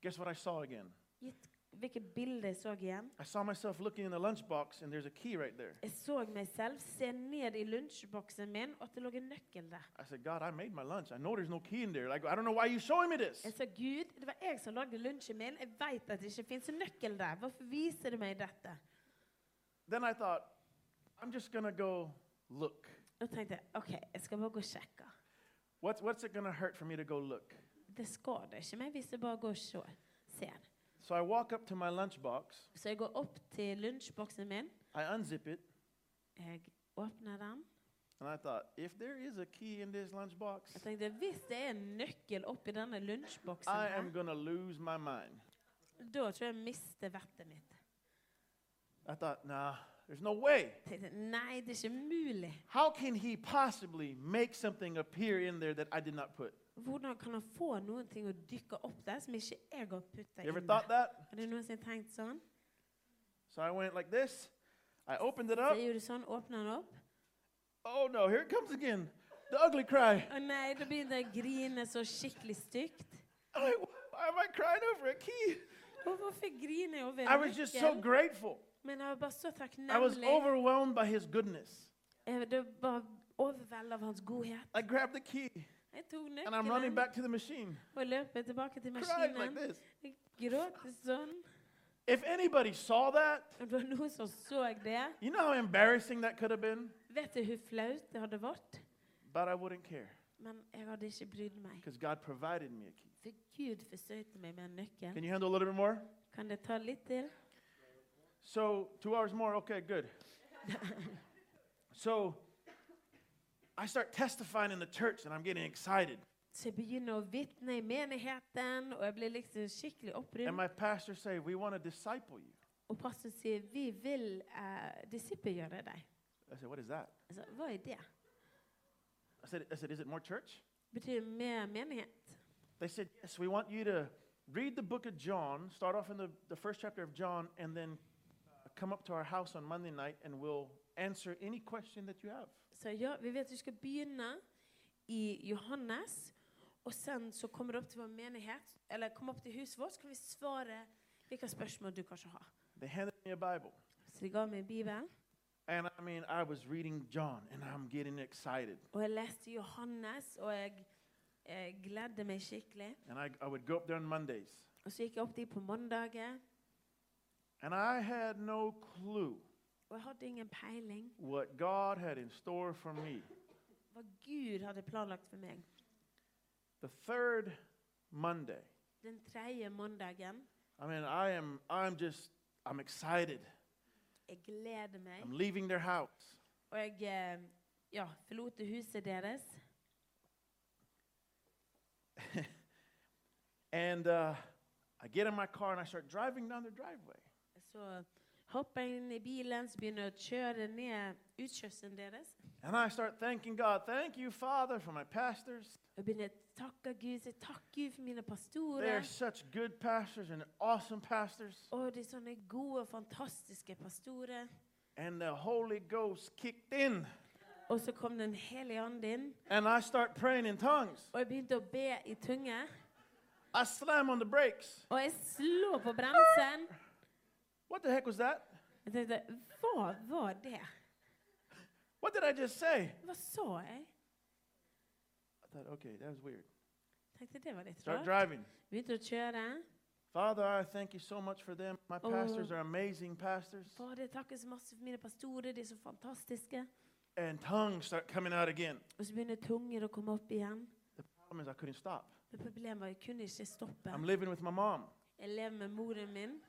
[SPEAKER 2] Guess what I saw again?
[SPEAKER 4] Gitt hvilket bilde jeg så igjen.
[SPEAKER 2] I saw myself looking in the lunchbox, and there's a key right there.
[SPEAKER 4] Jeg så meg selv se ned i lunsjboksen min, og at det lå en nøkkel der.
[SPEAKER 2] I said, God, I made my lunch. I know there's no key in there. Like, I don't know why you're showing me this.
[SPEAKER 4] Jeg sa, Gud, det var jeg som lagde lunsjen min. Jeg veit at det ikke fins en nøkkel der. Hvorfor viser du meg dette?
[SPEAKER 2] Then I thought, I'm just going to go look.
[SPEAKER 4] Og tenkte jeg OK, jeg skal bare gå og sjekke.
[SPEAKER 2] What's, what's it going to hurt for me to go look?
[SPEAKER 4] Det skader ikke meg hvis jeg bare går og se- ser.
[SPEAKER 2] So I walk up to my lunchbox.
[SPEAKER 4] Så jeg går opp til lunsjboksen min.
[SPEAKER 2] I unzip it.
[SPEAKER 4] Jeg åpner den.
[SPEAKER 2] And I thought, if there is a key in this lunchbox,
[SPEAKER 4] Jeg tenkte hvis det er en nøkkel oppi denne lunsjboksen,
[SPEAKER 2] I
[SPEAKER 4] her,
[SPEAKER 2] am going to lose my mind.
[SPEAKER 4] da tror jeg jeg mister vettet mitt.
[SPEAKER 2] I thought, nah, there's no way.
[SPEAKER 4] Jeg tenkte, Nei, det er ikke mulig.
[SPEAKER 2] How can he possibly make something appear in there that I did not put?
[SPEAKER 4] Hvordan kan han få noen ting å dykke opp der som ikke jeg har putta
[SPEAKER 2] You ever
[SPEAKER 4] inn?
[SPEAKER 2] thought
[SPEAKER 4] der?
[SPEAKER 2] that?
[SPEAKER 4] Har du noensinne tenkt sånn?
[SPEAKER 2] So I went like this. I opened it
[SPEAKER 4] Så
[SPEAKER 2] up.
[SPEAKER 4] jeg gjorde sånn, åpna den opp.
[SPEAKER 2] Oh no, here it comes again. The ugly cry.
[SPEAKER 4] Å nei, da begynte jeg å grine så skikkelig stygt.
[SPEAKER 2] I'm like, why am I crying over a key?
[SPEAKER 4] Og hvorfor griner jeg over
[SPEAKER 2] I
[SPEAKER 4] en
[SPEAKER 2] was just so
[SPEAKER 4] nøkkel?
[SPEAKER 2] grateful.
[SPEAKER 4] Men jeg var bare så
[SPEAKER 2] I was
[SPEAKER 4] takknemlig.
[SPEAKER 2] overwhelmed by his goodness.
[SPEAKER 4] Jeg- Det var overveldet av hans godhet.
[SPEAKER 2] I grabbed the key
[SPEAKER 4] Jeg tok
[SPEAKER 2] and I'm running
[SPEAKER 4] nøkkelen
[SPEAKER 2] back to the machine,
[SPEAKER 4] og løp tilbake til
[SPEAKER 2] crying like
[SPEAKER 4] maskinen.
[SPEAKER 2] this.
[SPEAKER 4] Jeg gråt sånn.
[SPEAKER 2] If anybody saw that,
[SPEAKER 4] Og det var noen som så det.
[SPEAKER 2] you know how embarrassing that could have been?
[SPEAKER 4] Vet du hvor flaut det hadde vært?
[SPEAKER 2] But I wouldn't care
[SPEAKER 4] Men jeg hadde ikke brydd meg.
[SPEAKER 2] because God provided me a key.
[SPEAKER 4] For Gud forsøkte meg med en nøkkel.
[SPEAKER 2] Can you handle a little bit more?
[SPEAKER 4] Kan det ta litt til?
[SPEAKER 2] So, two hours more. Okay, good. so, I start testifying in the church and I'm getting excited.
[SPEAKER 4] Så jeg begynner å vitne i menigheten, og jeg blir liksom skikkelig
[SPEAKER 2] And
[SPEAKER 4] opprømt.
[SPEAKER 2] my pastor say, "We want to disciple you."
[SPEAKER 4] Og pastor sier, 'Vi vil eh, disippelgjøre deg'.
[SPEAKER 2] I said, "What is that?"
[SPEAKER 4] Altså, hva er det?
[SPEAKER 2] I said, "I said, is it more church?"
[SPEAKER 4] Betyr det mer menighet?
[SPEAKER 2] They said, "Yes, we want you to read the book of John, start off in the, the first chapter of John, and then uh, come up to our house on Monday night and we'll answer any question that you have.
[SPEAKER 4] Så ja, vi vet du skal begynne i Johannes, og sen så kommer du opp til vår menighet, eller kom opp til huset vårt, så kan vi svare hvilke spørsmål du kanskje har.
[SPEAKER 2] They handed me a Bible.
[SPEAKER 4] Så de ga meg Bibelen,
[SPEAKER 2] And I mean, I was reading John and I'm getting excited.
[SPEAKER 4] og jeg leste Johannes, og jeg, jeg gledde meg skikkelig.
[SPEAKER 2] And I, I would go up there on Mondays.
[SPEAKER 4] Og så gikk jeg opp dit på mandager,
[SPEAKER 2] And I had no clue
[SPEAKER 4] og jeg hadde ingen peiling
[SPEAKER 2] what God had in store for me.
[SPEAKER 4] hva Gud hadde planlagt for meg.
[SPEAKER 2] The third Monday,
[SPEAKER 4] Den tredje mandagen,
[SPEAKER 2] I mean, I am, I'm just, I'm excited.
[SPEAKER 4] jeg gleder meg,
[SPEAKER 2] I'm leaving their house.
[SPEAKER 4] og jeg eh, ja, forlot huset deres,
[SPEAKER 2] And uh, I get in my car and I start driving down their driveway.
[SPEAKER 4] så hopper jeg inn i bilen, så begynner jeg å kjøre ned utkjørselen deres,
[SPEAKER 2] And I start thanking God. Thank you, Father, for my pastors.
[SPEAKER 4] og begynner å takke Gud, si takk Gud for mine
[SPEAKER 2] They are
[SPEAKER 4] pastorer.
[SPEAKER 2] such good pastors and awesome pastors.
[SPEAKER 4] Å, de er sånne gode, fantastiske pastorer.
[SPEAKER 2] And the Holy Ghost kicked in.
[SPEAKER 4] Og så kom Den hellige ånd inn,
[SPEAKER 2] And I start praying in tongues.
[SPEAKER 4] og jeg begynte å be i tunge.
[SPEAKER 2] I slam on the brakes.
[SPEAKER 4] Og jeg slår på bremsen.
[SPEAKER 2] What the heck was that?
[SPEAKER 4] Jeg tenkte, hva var det?
[SPEAKER 2] What did I just say?
[SPEAKER 4] Hva sa jeg?
[SPEAKER 2] I thought, okay, that was weird.
[SPEAKER 4] Tenkte det var litt
[SPEAKER 2] Start
[SPEAKER 4] rart.
[SPEAKER 2] driving.
[SPEAKER 4] Begynte å kjøre.
[SPEAKER 2] Father, I thank you so much for them. My
[SPEAKER 4] Oh.
[SPEAKER 2] pastors are amazing pastors.
[SPEAKER 4] Fader, takker så masse for mine pastorer, de er så fantastiske.
[SPEAKER 2] And tongues start coming out again.
[SPEAKER 4] Og så begynner tunger å komme opp igjen.
[SPEAKER 2] The problem is I couldn't stop.
[SPEAKER 4] Men problemet var jeg kunne ikke stoppe.
[SPEAKER 2] I'm living with my mom.
[SPEAKER 4] Jeg lever med moren min.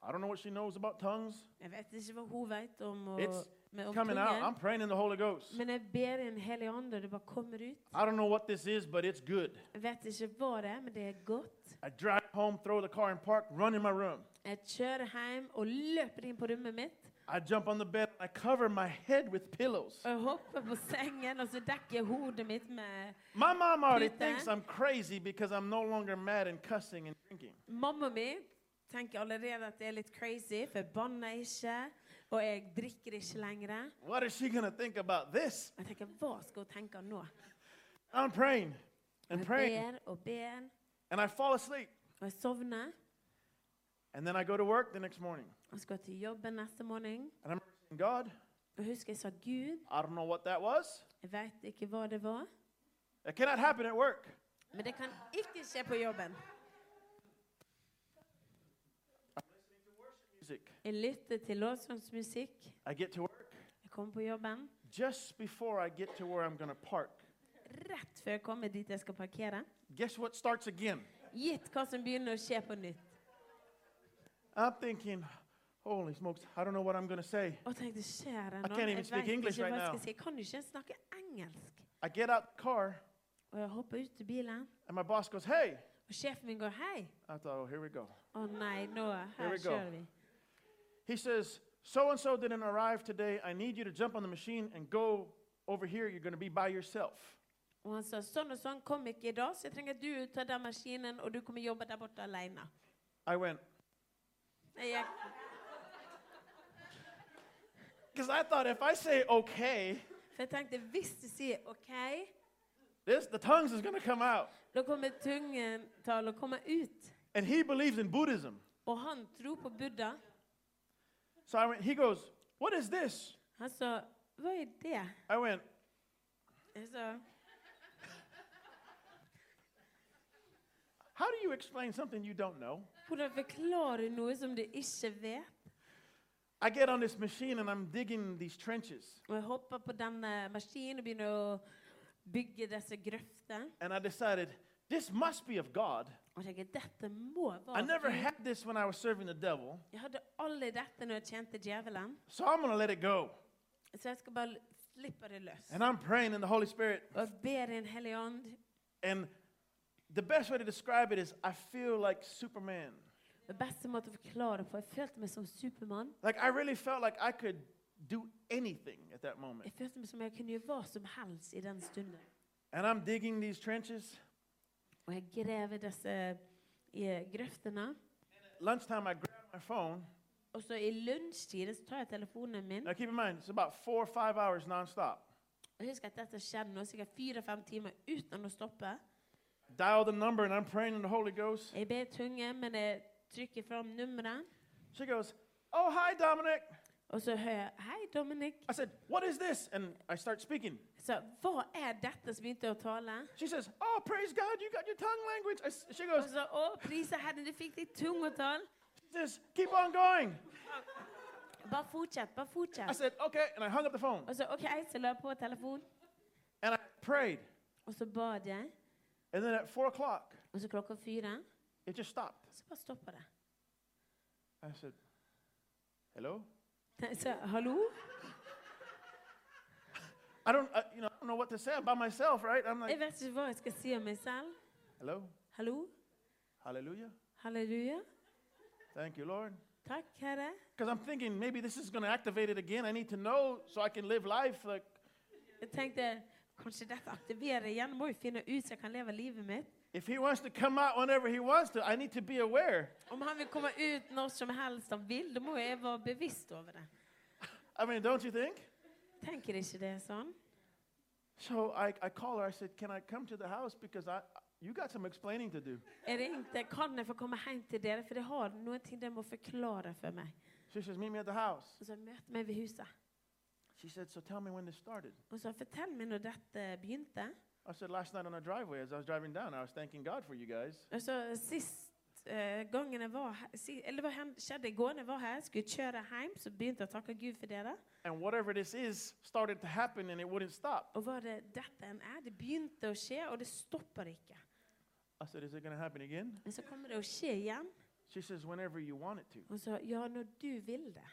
[SPEAKER 2] I don't know what she knows about tongues.
[SPEAKER 4] Jeg vet ikke hva hun vet om, å,
[SPEAKER 2] It's
[SPEAKER 4] med, om
[SPEAKER 2] Coming out. I'm
[SPEAKER 4] tunger.
[SPEAKER 2] praying in the Holy Ghost.
[SPEAKER 4] Men jeg ber i en hellig ånd, og det bare kommer ut.
[SPEAKER 2] I don't know what this is, but it's good.
[SPEAKER 4] Jeg vet ikke hva det er, men det er godt.
[SPEAKER 2] I drive home, throw the car in park, run in my room.
[SPEAKER 4] Jeg kjører hjem og løper inn på rommet mitt.
[SPEAKER 2] I jump on the bed. I cover my head with pillows.
[SPEAKER 4] Og jeg hopper på sengen, og så dekker jeg hodet mitt med
[SPEAKER 2] My mom already
[SPEAKER 4] Peter.
[SPEAKER 2] thinks I'm crazy because I'm no longer mad and cussing and drinking.
[SPEAKER 4] Mamma mi tenker allerede at jeg er litt crazy, for jeg banner ikke, og jeg drikker ikke lenger.
[SPEAKER 2] What is she gonna think about this?
[SPEAKER 4] Jeg tenker, hva skal hun tenke nå?
[SPEAKER 2] I'm praying and
[SPEAKER 4] Jeg
[SPEAKER 2] praying,
[SPEAKER 4] ber og ber,
[SPEAKER 2] and I fall asleep.
[SPEAKER 4] og jeg sovner.
[SPEAKER 2] And then I go to work the next morning,
[SPEAKER 4] Og skal til jobben neste morgen.
[SPEAKER 2] and I'm asking God,
[SPEAKER 4] Og husker jeg sa Gud,
[SPEAKER 2] I don't know what that was.
[SPEAKER 4] jeg veit ikke hva det var,
[SPEAKER 2] That cannot happen at work.
[SPEAKER 4] men det kan ikke skje på jobben.
[SPEAKER 2] Music.
[SPEAKER 4] Jeg lytter til lovsangsmusikk.
[SPEAKER 2] I get to work
[SPEAKER 4] Jeg kommer på jobben
[SPEAKER 2] just before I get to where I'm gonna park.
[SPEAKER 4] rett før jeg kommer dit jeg skal parkere.
[SPEAKER 2] Guess what starts again?
[SPEAKER 4] Gitt hva som begynner å skje på nytt.
[SPEAKER 2] I'm thinking, holy smokes, I don't know what I'm gonna say.
[SPEAKER 4] Og tenkte, skjer det
[SPEAKER 2] I
[SPEAKER 4] nå?
[SPEAKER 2] can't even
[SPEAKER 4] Jeg
[SPEAKER 2] speak
[SPEAKER 4] vet
[SPEAKER 2] English
[SPEAKER 4] ikke
[SPEAKER 2] right
[SPEAKER 4] hva jeg
[SPEAKER 2] now.
[SPEAKER 4] skal si. Jeg kan jo ikke snakke engelsk.
[SPEAKER 2] I get out the car,
[SPEAKER 4] Og jeg hopper ut til bilen,
[SPEAKER 2] and my boss goes, hey.
[SPEAKER 4] og sjefen min går hei.
[SPEAKER 2] I thought, oh, here we go.
[SPEAKER 4] Å nei, nå
[SPEAKER 2] Here
[SPEAKER 4] her
[SPEAKER 2] we go.
[SPEAKER 4] kjører vi.
[SPEAKER 2] He says, So and so didn't arrive today. I need you to jump on the machine and go over here. You're going to be by yourself.
[SPEAKER 4] Og han sa sånn og sånn kom ikke i dag, så jeg trenger at du tar den maskinen, og du kommer jobbe der borte alene.
[SPEAKER 2] I went,
[SPEAKER 4] Jeg gikk,
[SPEAKER 2] Because I thought if I say okay,
[SPEAKER 4] for jeg tenkte hvis du sier OK,
[SPEAKER 2] this, the tongues is going to come out.
[SPEAKER 4] da kommer tungen til å komme ut.
[SPEAKER 2] And he believes in Buddhism.
[SPEAKER 4] Og han tror på Buddha.
[SPEAKER 2] So I went, He goes, What is this?
[SPEAKER 4] Han sa hva er det?
[SPEAKER 2] I went,
[SPEAKER 4] Jeg sa
[SPEAKER 2] How do you explain something you don't know?
[SPEAKER 4] hvordan forklare noe som du ikke vet?
[SPEAKER 2] I get on this machine and I'm digging these trenches.
[SPEAKER 4] Og jeg hopper på denne maskinen og begynner å bygge disse grøftene.
[SPEAKER 2] And I decided, This must be of God.
[SPEAKER 4] Og jeg tenker dette må
[SPEAKER 2] I
[SPEAKER 4] være
[SPEAKER 2] never
[SPEAKER 4] Gud.
[SPEAKER 2] had this when I was serving the devil,
[SPEAKER 4] Jeg hadde aldri dette når jeg tjente djevelen,
[SPEAKER 2] so I'm going to let it go.
[SPEAKER 4] så jeg skal bare l- slippe det løs.
[SPEAKER 2] And I'm praying in the Holy Spirit.
[SPEAKER 4] Og jeg ber i en hellig ånd,
[SPEAKER 2] And the best way to describe it is I feel like Superman.
[SPEAKER 4] det beste måte å forklare på. Jeg følte meg som Supermann.
[SPEAKER 2] Like I really felt like I could do anything at that moment.
[SPEAKER 4] Jeg følte meg som jeg kunne gjøre hva som helst i den stunden.
[SPEAKER 2] And I'm digging these trenches
[SPEAKER 4] Og jeg grev i disse i eh, grøftene.
[SPEAKER 2] Lunchtime, I grab my phone.
[SPEAKER 4] Og så i lunsjtiden så tar jeg telefonen min.
[SPEAKER 2] Now, keep in mind, it's about four or five hours nonstop.
[SPEAKER 4] Og husk at dette skjedde nå sikkert fire-fem timer uten å stoppe.
[SPEAKER 2] Dial the number, and I'm praying in the Holy Ghost.
[SPEAKER 4] Jeg ber tunge, men jeg trykker fram nummeret.
[SPEAKER 2] She goes, Oh, hi, Dominic.
[SPEAKER 4] Og så hører jeg 'Hei, Dominic'.
[SPEAKER 2] I said, What is this? And I start speaking.
[SPEAKER 4] Så hva er dette som begynte å tale?
[SPEAKER 2] She says, Oh, praise God, you got your tongue language. I s she
[SPEAKER 4] Og
[SPEAKER 2] goes,
[SPEAKER 4] så 'Å, priser Herren, du fikk ditt tungetall'.
[SPEAKER 2] she says, Keep on going.
[SPEAKER 4] Bare fortsett, bare
[SPEAKER 2] I
[SPEAKER 4] fortsett.
[SPEAKER 2] said, Okay. And I hung up the phone
[SPEAKER 4] Og så OK, så la jeg på telefonen,
[SPEAKER 2] and I prayed.
[SPEAKER 4] og så bad jeg.
[SPEAKER 2] And then at four o'clock,
[SPEAKER 4] Og så klokka fire,
[SPEAKER 2] it just stopped.
[SPEAKER 4] så bare stopper det.
[SPEAKER 2] I said, Hello?
[SPEAKER 4] Nei, Så hallo?
[SPEAKER 2] I don't, uh, you know, I don't know what to say about myself, right? I'm
[SPEAKER 4] Jeg
[SPEAKER 2] like,
[SPEAKER 4] vet ikke hva jeg skal si om meg selv.
[SPEAKER 2] Hello?
[SPEAKER 4] Hallo?
[SPEAKER 2] Hallelujah.
[SPEAKER 4] Halleluja?
[SPEAKER 2] Thank you, Lord.
[SPEAKER 4] Takk, Herre.
[SPEAKER 2] Because I'm thinking maybe this is going to activate it again. I need to know so I can live life. Like,
[SPEAKER 4] Jeg tenkte kanskje dette aktiverer igjen. Må jo finne ut så jeg kan leve livet mitt.
[SPEAKER 2] if he wants to come out whenever he wants to, I need to be aware.
[SPEAKER 4] Om han vil komme ut når som helst han vil, da må jo jeg være bevisst over det.
[SPEAKER 2] I mean, don't you think?
[SPEAKER 4] Tenker ikke det sånn?
[SPEAKER 2] So I, I call her. I said, Can I come to the house? Because I, you got some explaining to do.
[SPEAKER 4] Jeg ringte. Kan jeg få komme hjem til dere? For jeg har noen ting dere må forklare for meg.
[SPEAKER 2] She says, Meet me at the house.
[SPEAKER 4] Og så møt meg ved huset.
[SPEAKER 2] She said, So tell me when this started.
[SPEAKER 4] Og så fortell meg når dette begynte.
[SPEAKER 2] I said, Last night on the driveway, as I was driving down, I was thanking God for you guys.
[SPEAKER 4] Og så sist eh, gangen jeg var her, si, eller hva hen- skjedde i går når jeg var her, skulle kjøre hjem, så begynte jeg å takke Gud for dere.
[SPEAKER 2] And whatever this is started to happen and it wouldn't stop.
[SPEAKER 4] Og hva det dette enn er, det begynte å skje, og det stopper ikke.
[SPEAKER 2] I said, Is it going to happen again?
[SPEAKER 4] Men så kommer det å skje igjen.
[SPEAKER 2] She says, Whenever you want it to.
[SPEAKER 4] Og så Ja, når du vil det.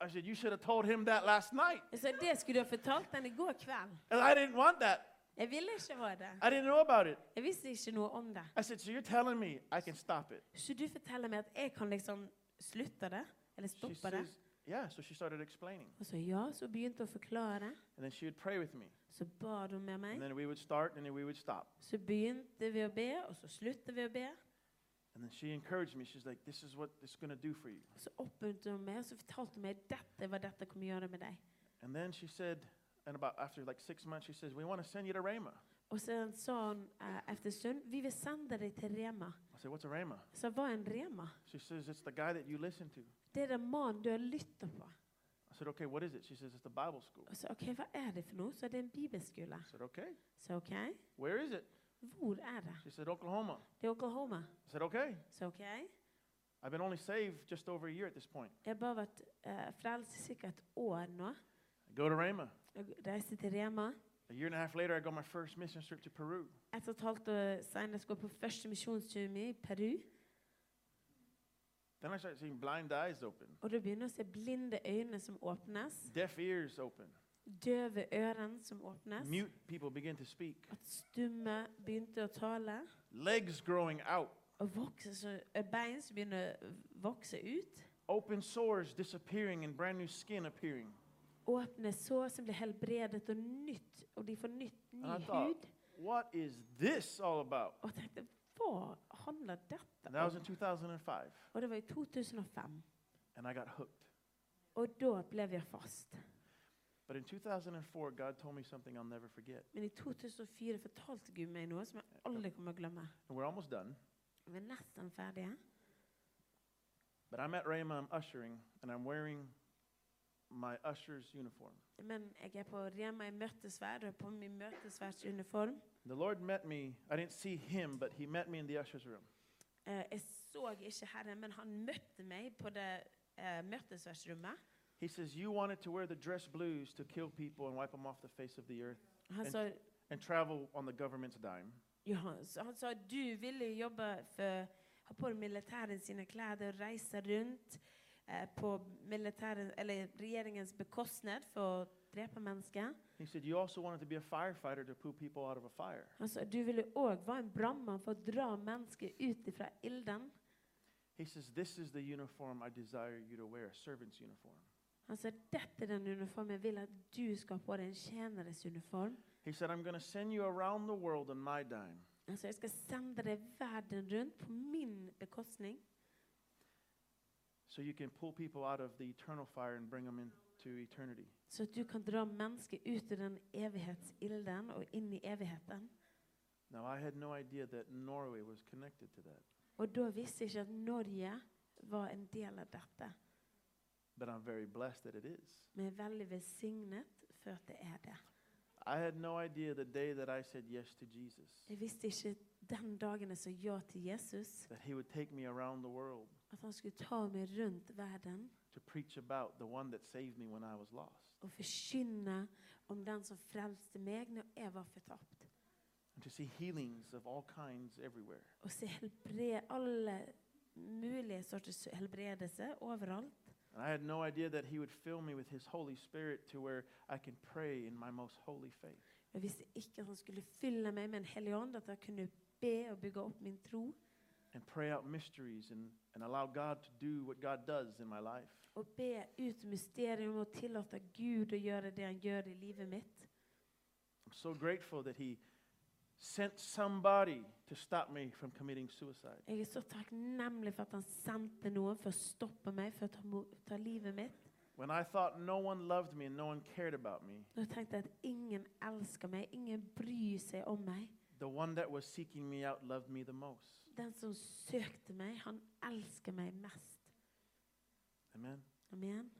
[SPEAKER 2] I said, You should have told him that last night.
[SPEAKER 4] Jeg sa, det skulle du ha fortalt henne i går kveld.
[SPEAKER 2] And I didn't want that.
[SPEAKER 4] Jeg ville ikke ha det.
[SPEAKER 2] I didn't know about it.
[SPEAKER 4] Jeg visste ikke noe om det.
[SPEAKER 2] I said, So you're telling me I can stop it?
[SPEAKER 4] Så du forteller meg at jeg kan liksom slutte det? Eller
[SPEAKER 2] She
[SPEAKER 4] stoppe det?
[SPEAKER 2] says, Yeah. So she started explaining.
[SPEAKER 4] Og så ja, så begynte hun å forklare.
[SPEAKER 2] And then she would pray with me.
[SPEAKER 4] Så ba hun med
[SPEAKER 2] And
[SPEAKER 4] meg.
[SPEAKER 2] then we would start and then we would stop.
[SPEAKER 4] Så begynte vi å be, og så sluttet vi å be.
[SPEAKER 2] And then she encouraged me. She's like, This is what it's going to do for you.
[SPEAKER 4] Og så oppmuntret hun meg, og så fortalte hun meg dette hva dette kommer gjøre med deg.
[SPEAKER 2] And then she said, and about after like six months, she says, We want to send you to Rhema.
[SPEAKER 4] Og så sa hun eh, efter stund, vi vil sende deg til Rema.
[SPEAKER 2] I said, What's a Rhema?
[SPEAKER 4] Så hva er en Rema?
[SPEAKER 2] She says, It's the guy that you listen to.
[SPEAKER 4] Det er den mannen du har lyttet på.
[SPEAKER 2] I said, Okay, what is it? She says, It's the Bible school.
[SPEAKER 4] Og så, ok, hva er det for noe? Så det er en bibelskole.
[SPEAKER 2] I said, Okay.
[SPEAKER 4] Så ok,
[SPEAKER 2] Where is it?
[SPEAKER 4] hvor er det?
[SPEAKER 2] She said, Oklahoma.
[SPEAKER 4] Det er Oklahoma.
[SPEAKER 2] I said, Okay.
[SPEAKER 4] Så ok, jeg
[SPEAKER 2] I've been only saved just over a year at this point.
[SPEAKER 4] har bare vært eh, frelst i sikkert et år nå.
[SPEAKER 2] I go to Rhema.
[SPEAKER 4] Jeg reiste til Rema.
[SPEAKER 2] A year and a half later, I go my first mission trip to Peru.
[SPEAKER 4] Et og et halvt år senere skulle jeg på første misjonstur min i Peru.
[SPEAKER 2] Then I start seeing blind eyes open,
[SPEAKER 4] Og da begynner jeg å se blinde øyne som åpnes.
[SPEAKER 2] deaf ears open,
[SPEAKER 4] Døve øren som åpnes.
[SPEAKER 2] mute people begin to speak,
[SPEAKER 4] At stumme begynte å tale.
[SPEAKER 2] legs growing out,
[SPEAKER 4] Og vokse, så, eh, bein som begynner å vokse ut.
[SPEAKER 2] open sores disappearing, and brand new skin appearing.
[SPEAKER 4] Åpne sår som blir helbredet, og nytt, og de får nytt, ny
[SPEAKER 2] Ah, da.
[SPEAKER 4] hud.
[SPEAKER 2] What is this all about?
[SPEAKER 4] Og jeg tenkte hva handler dette
[SPEAKER 2] And that was
[SPEAKER 4] om?
[SPEAKER 2] in 2005,
[SPEAKER 4] Og det var i 2005.
[SPEAKER 2] and I got hooked.
[SPEAKER 4] Og da ble jeg fast.
[SPEAKER 2] But in 2004, God told me something I'll never forget.
[SPEAKER 4] Men i 2004 fortalte Gud meg noe som jeg aldri kommer å glemme.
[SPEAKER 2] And we're almost done,
[SPEAKER 4] Vi er nesten ferdige.
[SPEAKER 2] but I'm at Rhema, I'm ushering, and I'm wearing my usher's uniform.
[SPEAKER 4] Men jeg er på Rema i møtesverd og på min møtesverdsuniform.
[SPEAKER 2] The Lord met me. I didn't see him, but he met me in the usher's room.
[SPEAKER 4] Eh, jeg så ikke Herren, men han møtte meg på det eh, møtesverdsrommet.
[SPEAKER 2] He says, You wanted to wear the dress blues to kill people and wipe them off the face of the earth
[SPEAKER 4] Han
[SPEAKER 2] En-
[SPEAKER 4] sa,
[SPEAKER 2] and travel on the government's dime.
[SPEAKER 4] Johannes, han sa du ville jobbe for ha på deg militæren sine klær og reise rundt eh, på militæren, eller regjeringens bekostnad for å drepe mennesker.
[SPEAKER 2] He said, You also wanted to be a firefighter to poo people out of a fire.
[SPEAKER 4] Han sa du ville òg være en brannmann for å dra mennesker ut ifra ilden.
[SPEAKER 2] He says, This is the uniform I desire you to wear, a servant's uniform.
[SPEAKER 4] Han sa dette er den uniformen jeg vil at du skal ha på deg, en tjeneres uniform.
[SPEAKER 2] He said, I'm going to send you around the world on my dime.
[SPEAKER 4] Altså, jeg skal sende dere verden rundt på min bekostning,
[SPEAKER 2] so you can pull people out of the eternal fire and bring them into eternity.
[SPEAKER 4] så at du kan dra mennesker ut av den evighetsilden og inn i evigheten.
[SPEAKER 2] Now, I had no idea that Norway was connected to that,
[SPEAKER 4] Og da visste jeg ikke at Norge var en del av dette.
[SPEAKER 2] but I'm very blessed that it is.
[SPEAKER 4] Men jeg er veldig velsignet for at det er det.
[SPEAKER 2] I had no idea the day that I said yes to Jesus
[SPEAKER 4] Jeg visste ikke den dagen jeg sa ja til Jesus,
[SPEAKER 2] that he would take me around the world
[SPEAKER 4] at han skulle ta meg rundt verden
[SPEAKER 2] to preach about the one that saved me when I was lost.
[SPEAKER 4] og forkynne om den som frelste meg når jeg var fortapt.
[SPEAKER 2] and to see healings of all kinds everywhere.
[SPEAKER 4] Og se helbre, alle mulige sorters helbredelse overalt.
[SPEAKER 2] And I had no idea that He would fill me with His Holy Spirit to where I can pray in my most holy faith.
[SPEAKER 4] Jeg visste ikke at han skulle fylle meg med en hellig ånd, at jeg kunne be og bygge opp min tro.
[SPEAKER 2] and pray out mysteries and, and allow God to do what God does in my life.
[SPEAKER 4] Og be ut mysterium og tillate Gud å gjøre det han gjør i livet mitt.
[SPEAKER 2] I'm so grateful that He sent somebody to stop me from committing suicide.
[SPEAKER 4] Jeg er så takknemlig for at han sendte noen for å stoppe meg, for å ta, mo- ta livet mitt.
[SPEAKER 2] When I thought no one loved me and no one cared about me,
[SPEAKER 4] Når jeg tenkte at ingen elsker meg, ingen bryr seg om meg.
[SPEAKER 2] the one that was seeking me out loved me the most.
[SPEAKER 4] Den som søkte meg, han elsker meg mest.
[SPEAKER 2] Amen.
[SPEAKER 4] Amen.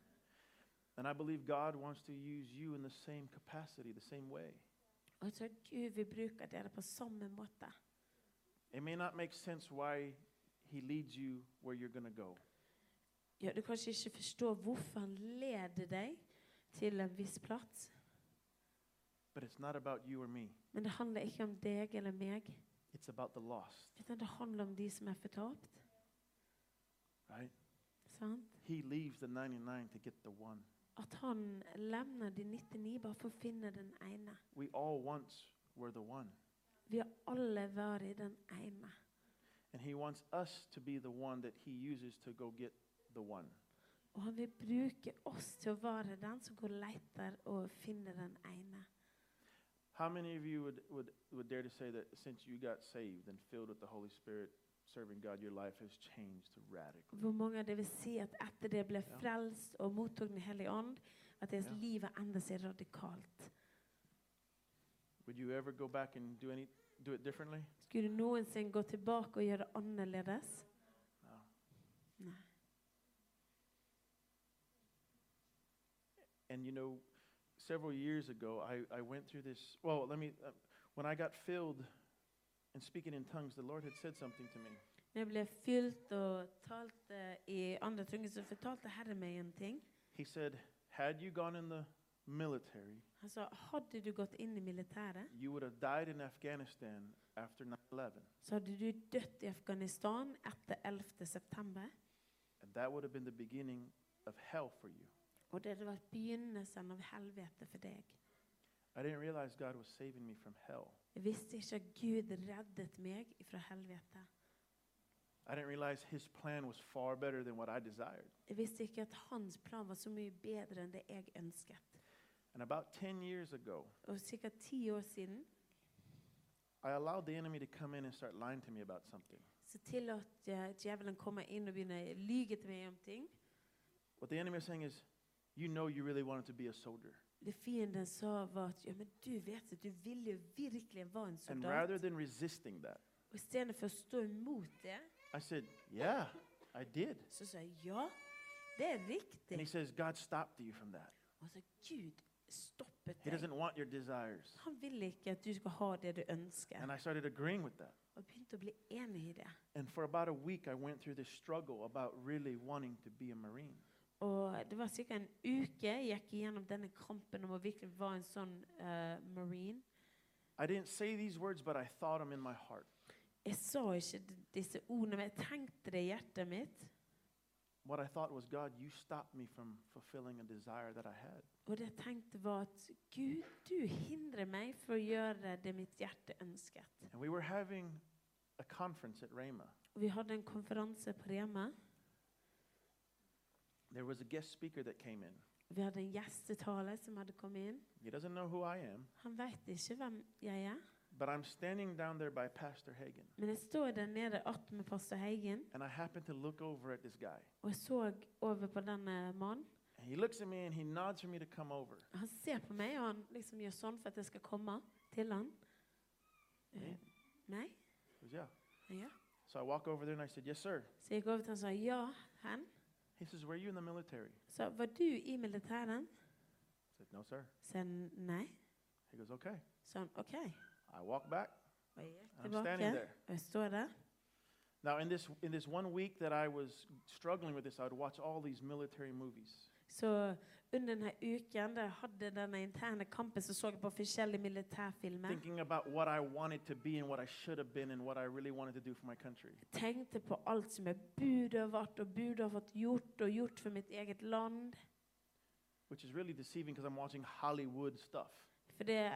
[SPEAKER 2] And I believe God wants to use you in the same capacity, the same way.
[SPEAKER 4] Og jeg tror Gud vil bruke dere på samme måte.
[SPEAKER 2] It may not make sense why he leads you where you're going to go.
[SPEAKER 4] Ja, du kanskje ikke forstår hvorfor han leder deg til en viss plass,
[SPEAKER 2] But it's not about you or me.
[SPEAKER 4] men det handler ikke om deg eller meg,
[SPEAKER 2] It's about the lost,
[SPEAKER 4] utan det handler om de som er fortapt.
[SPEAKER 2] right?
[SPEAKER 4] Sant?
[SPEAKER 2] He leaves the 99 to get the one.
[SPEAKER 4] At han lemner de 99 bare for å finne den ene.
[SPEAKER 2] We all once were the one.
[SPEAKER 4] Vi har alle vært den ene.
[SPEAKER 2] And he wants us to be the one that he uses to go get the one.
[SPEAKER 4] Og han vil bruke oss til å være den som går og leter og finner den ene.
[SPEAKER 2] How many of you would, would, would dare to say that since you got saved and filled with the Holy Spirit, serving God, your life has changed radically?
[SPEAKER 4] Hvor mange av det vil si at etter det ble
[SPEAKER 2] Ja.
[SPEAKER 4] frelst og mottok Den hellige ånd, at deres
[SPEAKER 2] Ja.
[SPEAKER 4] liv har endret seg radikalt?
[SPEAKER 2] Would you ever go back and do, any, do it differently?
[SPEAKER 4] Skulle du noensinne gå tilbake og gjøre det annerledes?
[SPEAKER 2] No.
[SPEAKER 4] Nei.
[SPEAKER 2] And you know, several years ago, I, I went through this. Well, let me. Uh, when I got filled and speaking in tongues, the Lord had said something to me.
[SPEAKER 4] Når jeg ble fylt og talte i andre tunger, så fortalte Herren meg en ting.
[SPEAKER 2] He said, Had you gone in the military,
[SPEAKER 4] Han sa hadde du gått inn i militæret,
[SPEAKER 2] you would have died in Afghanistan after 9 11.
[SPEAKER 4] så hadde du dødd i Afghanistan etter 11. september.
[SPEAKER 2] And that would have been the beginning of hell for you.
[SPEAKER 4] Og det hadde vært begynnelsen av helvete for deg.
[SPEAKER 2] I didn't realize God was saving me from hell.
[SPEAKER 4] Jeg visste ikke at Gud reddet meg fra helvete.
[SPEAKER 2] I didn't realize His plan was far better than what I desired.
[SPEAKER 4] Jeg visste ikke at hans plan var så mye bedre enn det jeg ønsket.
[SPEAKER 2] And about 10 years ago,
[SPEAKER 4] Og ca. ti år siden
[SPEAKER 2] I allowed the enemy to come in and start lying to me about something.
[SPEAKER 4] så tillot jeg djevelen komme inn og begynne å lyge til meg om ting.
[SPEAKER 2] What the enemy is saying is, you know, you really wanted to be a soldier.
[SPEAKER 4] Det fienden sa, var at ja, men du vet at du ville jo virkelig være en
[SPEAKER 2] And
[SPEAKER 4] soldat.
[SPEAKER 2] rather than resisting that,
[SPEAKER 4] Og i stedet for å stå imot det,
[SPEAKER 2] I said, yeah, I did.
[SPEAKER 4] så sa jeg ja, det er
[SPEAKER 2] And
[SPEAKER 4] riktig.
[SPEAKER 2] he says, God stopped you from that.
[SPEAKER 4] Og så Gud stoppet
[SPEAKER 2] He
[SPEAKER 4] deg.
[SPEAKER 2] doesn't want your desires.
[SPEAKER 4] Han vil ikke at du skal ha det du ønsker.
[SPEAKER 2] And I started agreeing with that.
[SPEAKER 4] Og begynte å bli enig i det.
[SPEAKER 2] And for about a week, I went through this struggle about really wanting to be a Marine.
[SPEAKER 4] Og det var ca. en uke jeg gikk gjennom denne kampen om å virkelig være en sånn eh, marine.
[SPEAKER 2] I didn't say these words, but I thought them in my heart.
[SPEAKER 4] Jeg sa ikke d- disse ordene, men jeg tenkte det i hjertet mitt.
[SPEAKER 2] What I thought was, God, you stopped me from fulfilling a desire that I had.
[SPEAKER 4] Og det jeg tenkte var at Gud, du hindrer meg for å gjøre det mitt hjerte ønsket.
[SPEAKER 2] And we were having a conference at Rhema.
[SPEAKER 4] Og vi hadde en konferanse på Rema.
[SPEAKER 2] There was a guest speaker that came in.
[SPEAKER 4] Vi hadde en gjestetale som hadde kommet inn.
[SPEAKER 2] He doesn't know who I am,
[SPEAKER 4] Han veit ikke hvem jeg er,
[SPEAKER 2] But I'm standing down there by Pastor Hagen,
[SPEAKER 4] Men jeg står der nede att med pastor Heigen,
[SPEAKER 2] and I happen to look over at this guy.
[SPEAKER 4] og jeg så over på denne mannen.
[SPEAKER 2] And he looks at me and he nods for me to come over.
[SPEAKER 4] Han ser på meg, og han liksom gjør sånn for at jeg skal komme til han. Eh, Nei?
[SPEAKER 2] He goes, Yeah.
[SPEAKER 4] Ja.
[SPEAKER 2] So I walk over there and I said, Yes, sir.
[SPEAKER 4] Så jeg gikk over til han og sa ja, hen.
[SPEAKER 2] He says, Were you in the military? I
[SPEAKER 4] Så var du i militæren?
[SPEAKER 2] said, No, sir.
[SPEAKER 4] Så han nei.
[SPEAKER 2] He goes, Okay.
[SPEAKER 4] Så han OK.
[SPEAKER 2] I walk back
[SPEAKER 4] Og jeg gikk
[SPEAKER 2] and I'm standing
[SPEAKER 4] tilbake,
[SPEAKER 2] there.
[SPEAKER 4] og jeg Eh, står der.
[SPEAKER 2] Now, in this, in this one week that I was struggling with this, I would watch all these military movies.
[SPEAKER 4] Så under denne uken da jeg hadde denne interne kampen, så så jeg på forskjellige militærfilmer.
[SPEAKER 2] thinking about what I wanted to be and what I should have been and what I really wanted to do for my country.
[SPEAKER 4] Tenkte på alt som jeg burde ha vært, og burde ha fått gjort, og gjort for mitt eget land.
[SPEAKER 2] Which is really deceiving because I'm watching Hollywood stuff.
[SPEAKER 4] For det,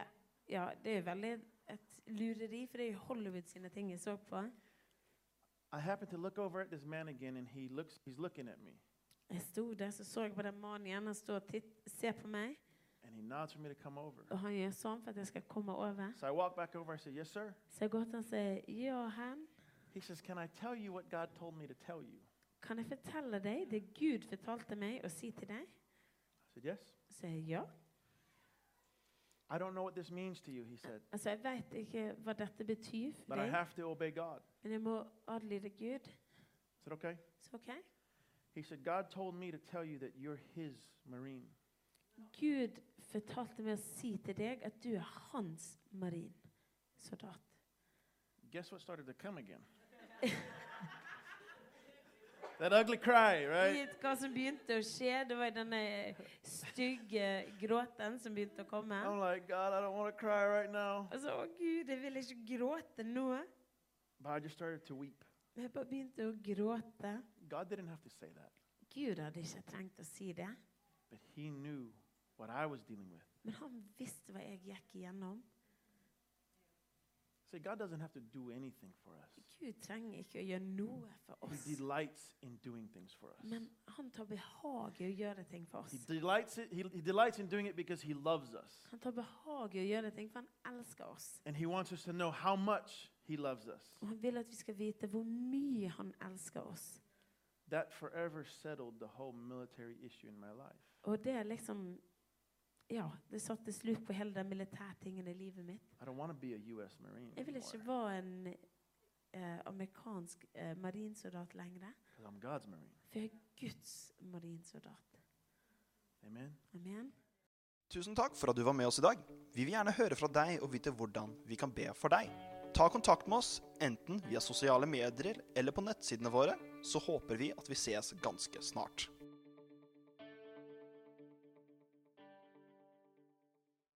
[SPEAKER 4] ja, det er jo veldig et lureri, for det er jo Hollywood sine ting jeg så på.
[SPEAKER 2] I happen to look over at this man again and he looks he's looking at me
[SPEAKER 4] Jeg sto der, så så jeg på den mannen igjen. Han står og titt, ser på meg,
[SPEAKER 2] and he nods for me to come over.
[SPEAKER 4] og han gjør sånn for at jeg skal komme over.
[SPEAKER 2] So I walk back over, I say, Yes, sir.
[SPEAKER 4] Så jeg går til han og sier, ja, hen,
[SPEAKER 2] He says, Can I tell you what God told me to tell you?
[SPEAKER 4] kan jeg fortelle deg det Gud fortalte meg å si til deg?
[SPEAKER 2] I said, Yes.
[SPEAKER 4] Så jeg, ja.
[SPEAKER 2] I don't know what this means to you, he said,
[SPEAKER 4] Altså, jeg vet ikke hva dette betyr for
[SPEAKER 2] but I
[SPEAKER 4] deg,
[SPEAKER 2] have to obey God.
[SPEAKER 4] men jeg må adlyde Gud.
[SPEAKER 2] I said, Okay.
[SPEAKER 4] Så ok.
[SPEAKER 2] He said, God told me to tell you that you're his Marine.
[SPEAKER 4] Gud fortalte meg å si til deg at du er hans marinsoldat.
[SPEAKER 2] Guess what started to come again? that ugly cry, right?
[SPEAKER 4] Vet hva som begynte å skje? Det var denne stygge gråten som begynte å komme.
[SPEAKER 2] I'm like, God, I don't want to cry right now.
[SPEAKER 4] Altså, å Gud, jeg vil ikke gråte nå.
[SPEAKER 2] But I just started to weep.
[SPEAKER 4] Men jeg bare begynte å gråte.
[SPEAKER 2] God didn't have to say that,
[SPEAKER 4] Gud hadde ikke trengt å si det.
[SPEAKER 2] but He knew what I was dealing with.
[SPEAKER 4] Men han visste hva jeg gikk igjennom.
[SPEAKER 2] See, God doesn't have to do anything for us,
[SPEAKER 4] Gud trenger ikke å gjøre noe for
[SPEAKER 2] He
[SPEAKER 4] oss.
[SPEAKER 2] delights in doing things for us.
[SPEAKER 4] Men han tar behag i å gjøre ting for
[SPEAKER 2] He
[SPEAKER 4] oss.
[SPEAKER 2] delights, it, he, he delights in doing it because He loves us.
[SPEAKER 4] Han tar behag i å gjøre ting, for han elsker oss.
[SPEAKER 2] And He wants us to know how much He loves us.
[SPEAKER 4] Og han vil at vi skal vite hvor mye han elsker oss.
[SPEAKER 2] That forever settled the whole military issue in my life.
[SPEAKER 4] Og det er liksom Ja, det satte slutt på hele den militærtingen i livet mitt.
[SPEAKER 2] I don't want to be a U.S. Marine
[SPEAKER 4] Jeg vil
[SPEAKER 2] anymore
[SPEAKER 4] ikke være en eh, amerikansk eh, marinsoldat lenger.
[SPEAKER 2] 'cause I'm God's Marine.
[SPEAKER 4] For jeg er Guds marinsoldat.
[SPEAKER 2] Amen.
[SPEAKER 4] Amen.
[SPEAKER 1] Tusen takk for at du var med oss i dag. Vi vil gjerne høre fra deg og vite hvordan vi kan be for deg. Ta kontakt med oss enten via sosiale medier eller på nettsidene våre, så håper vi at vi ses ganske snart.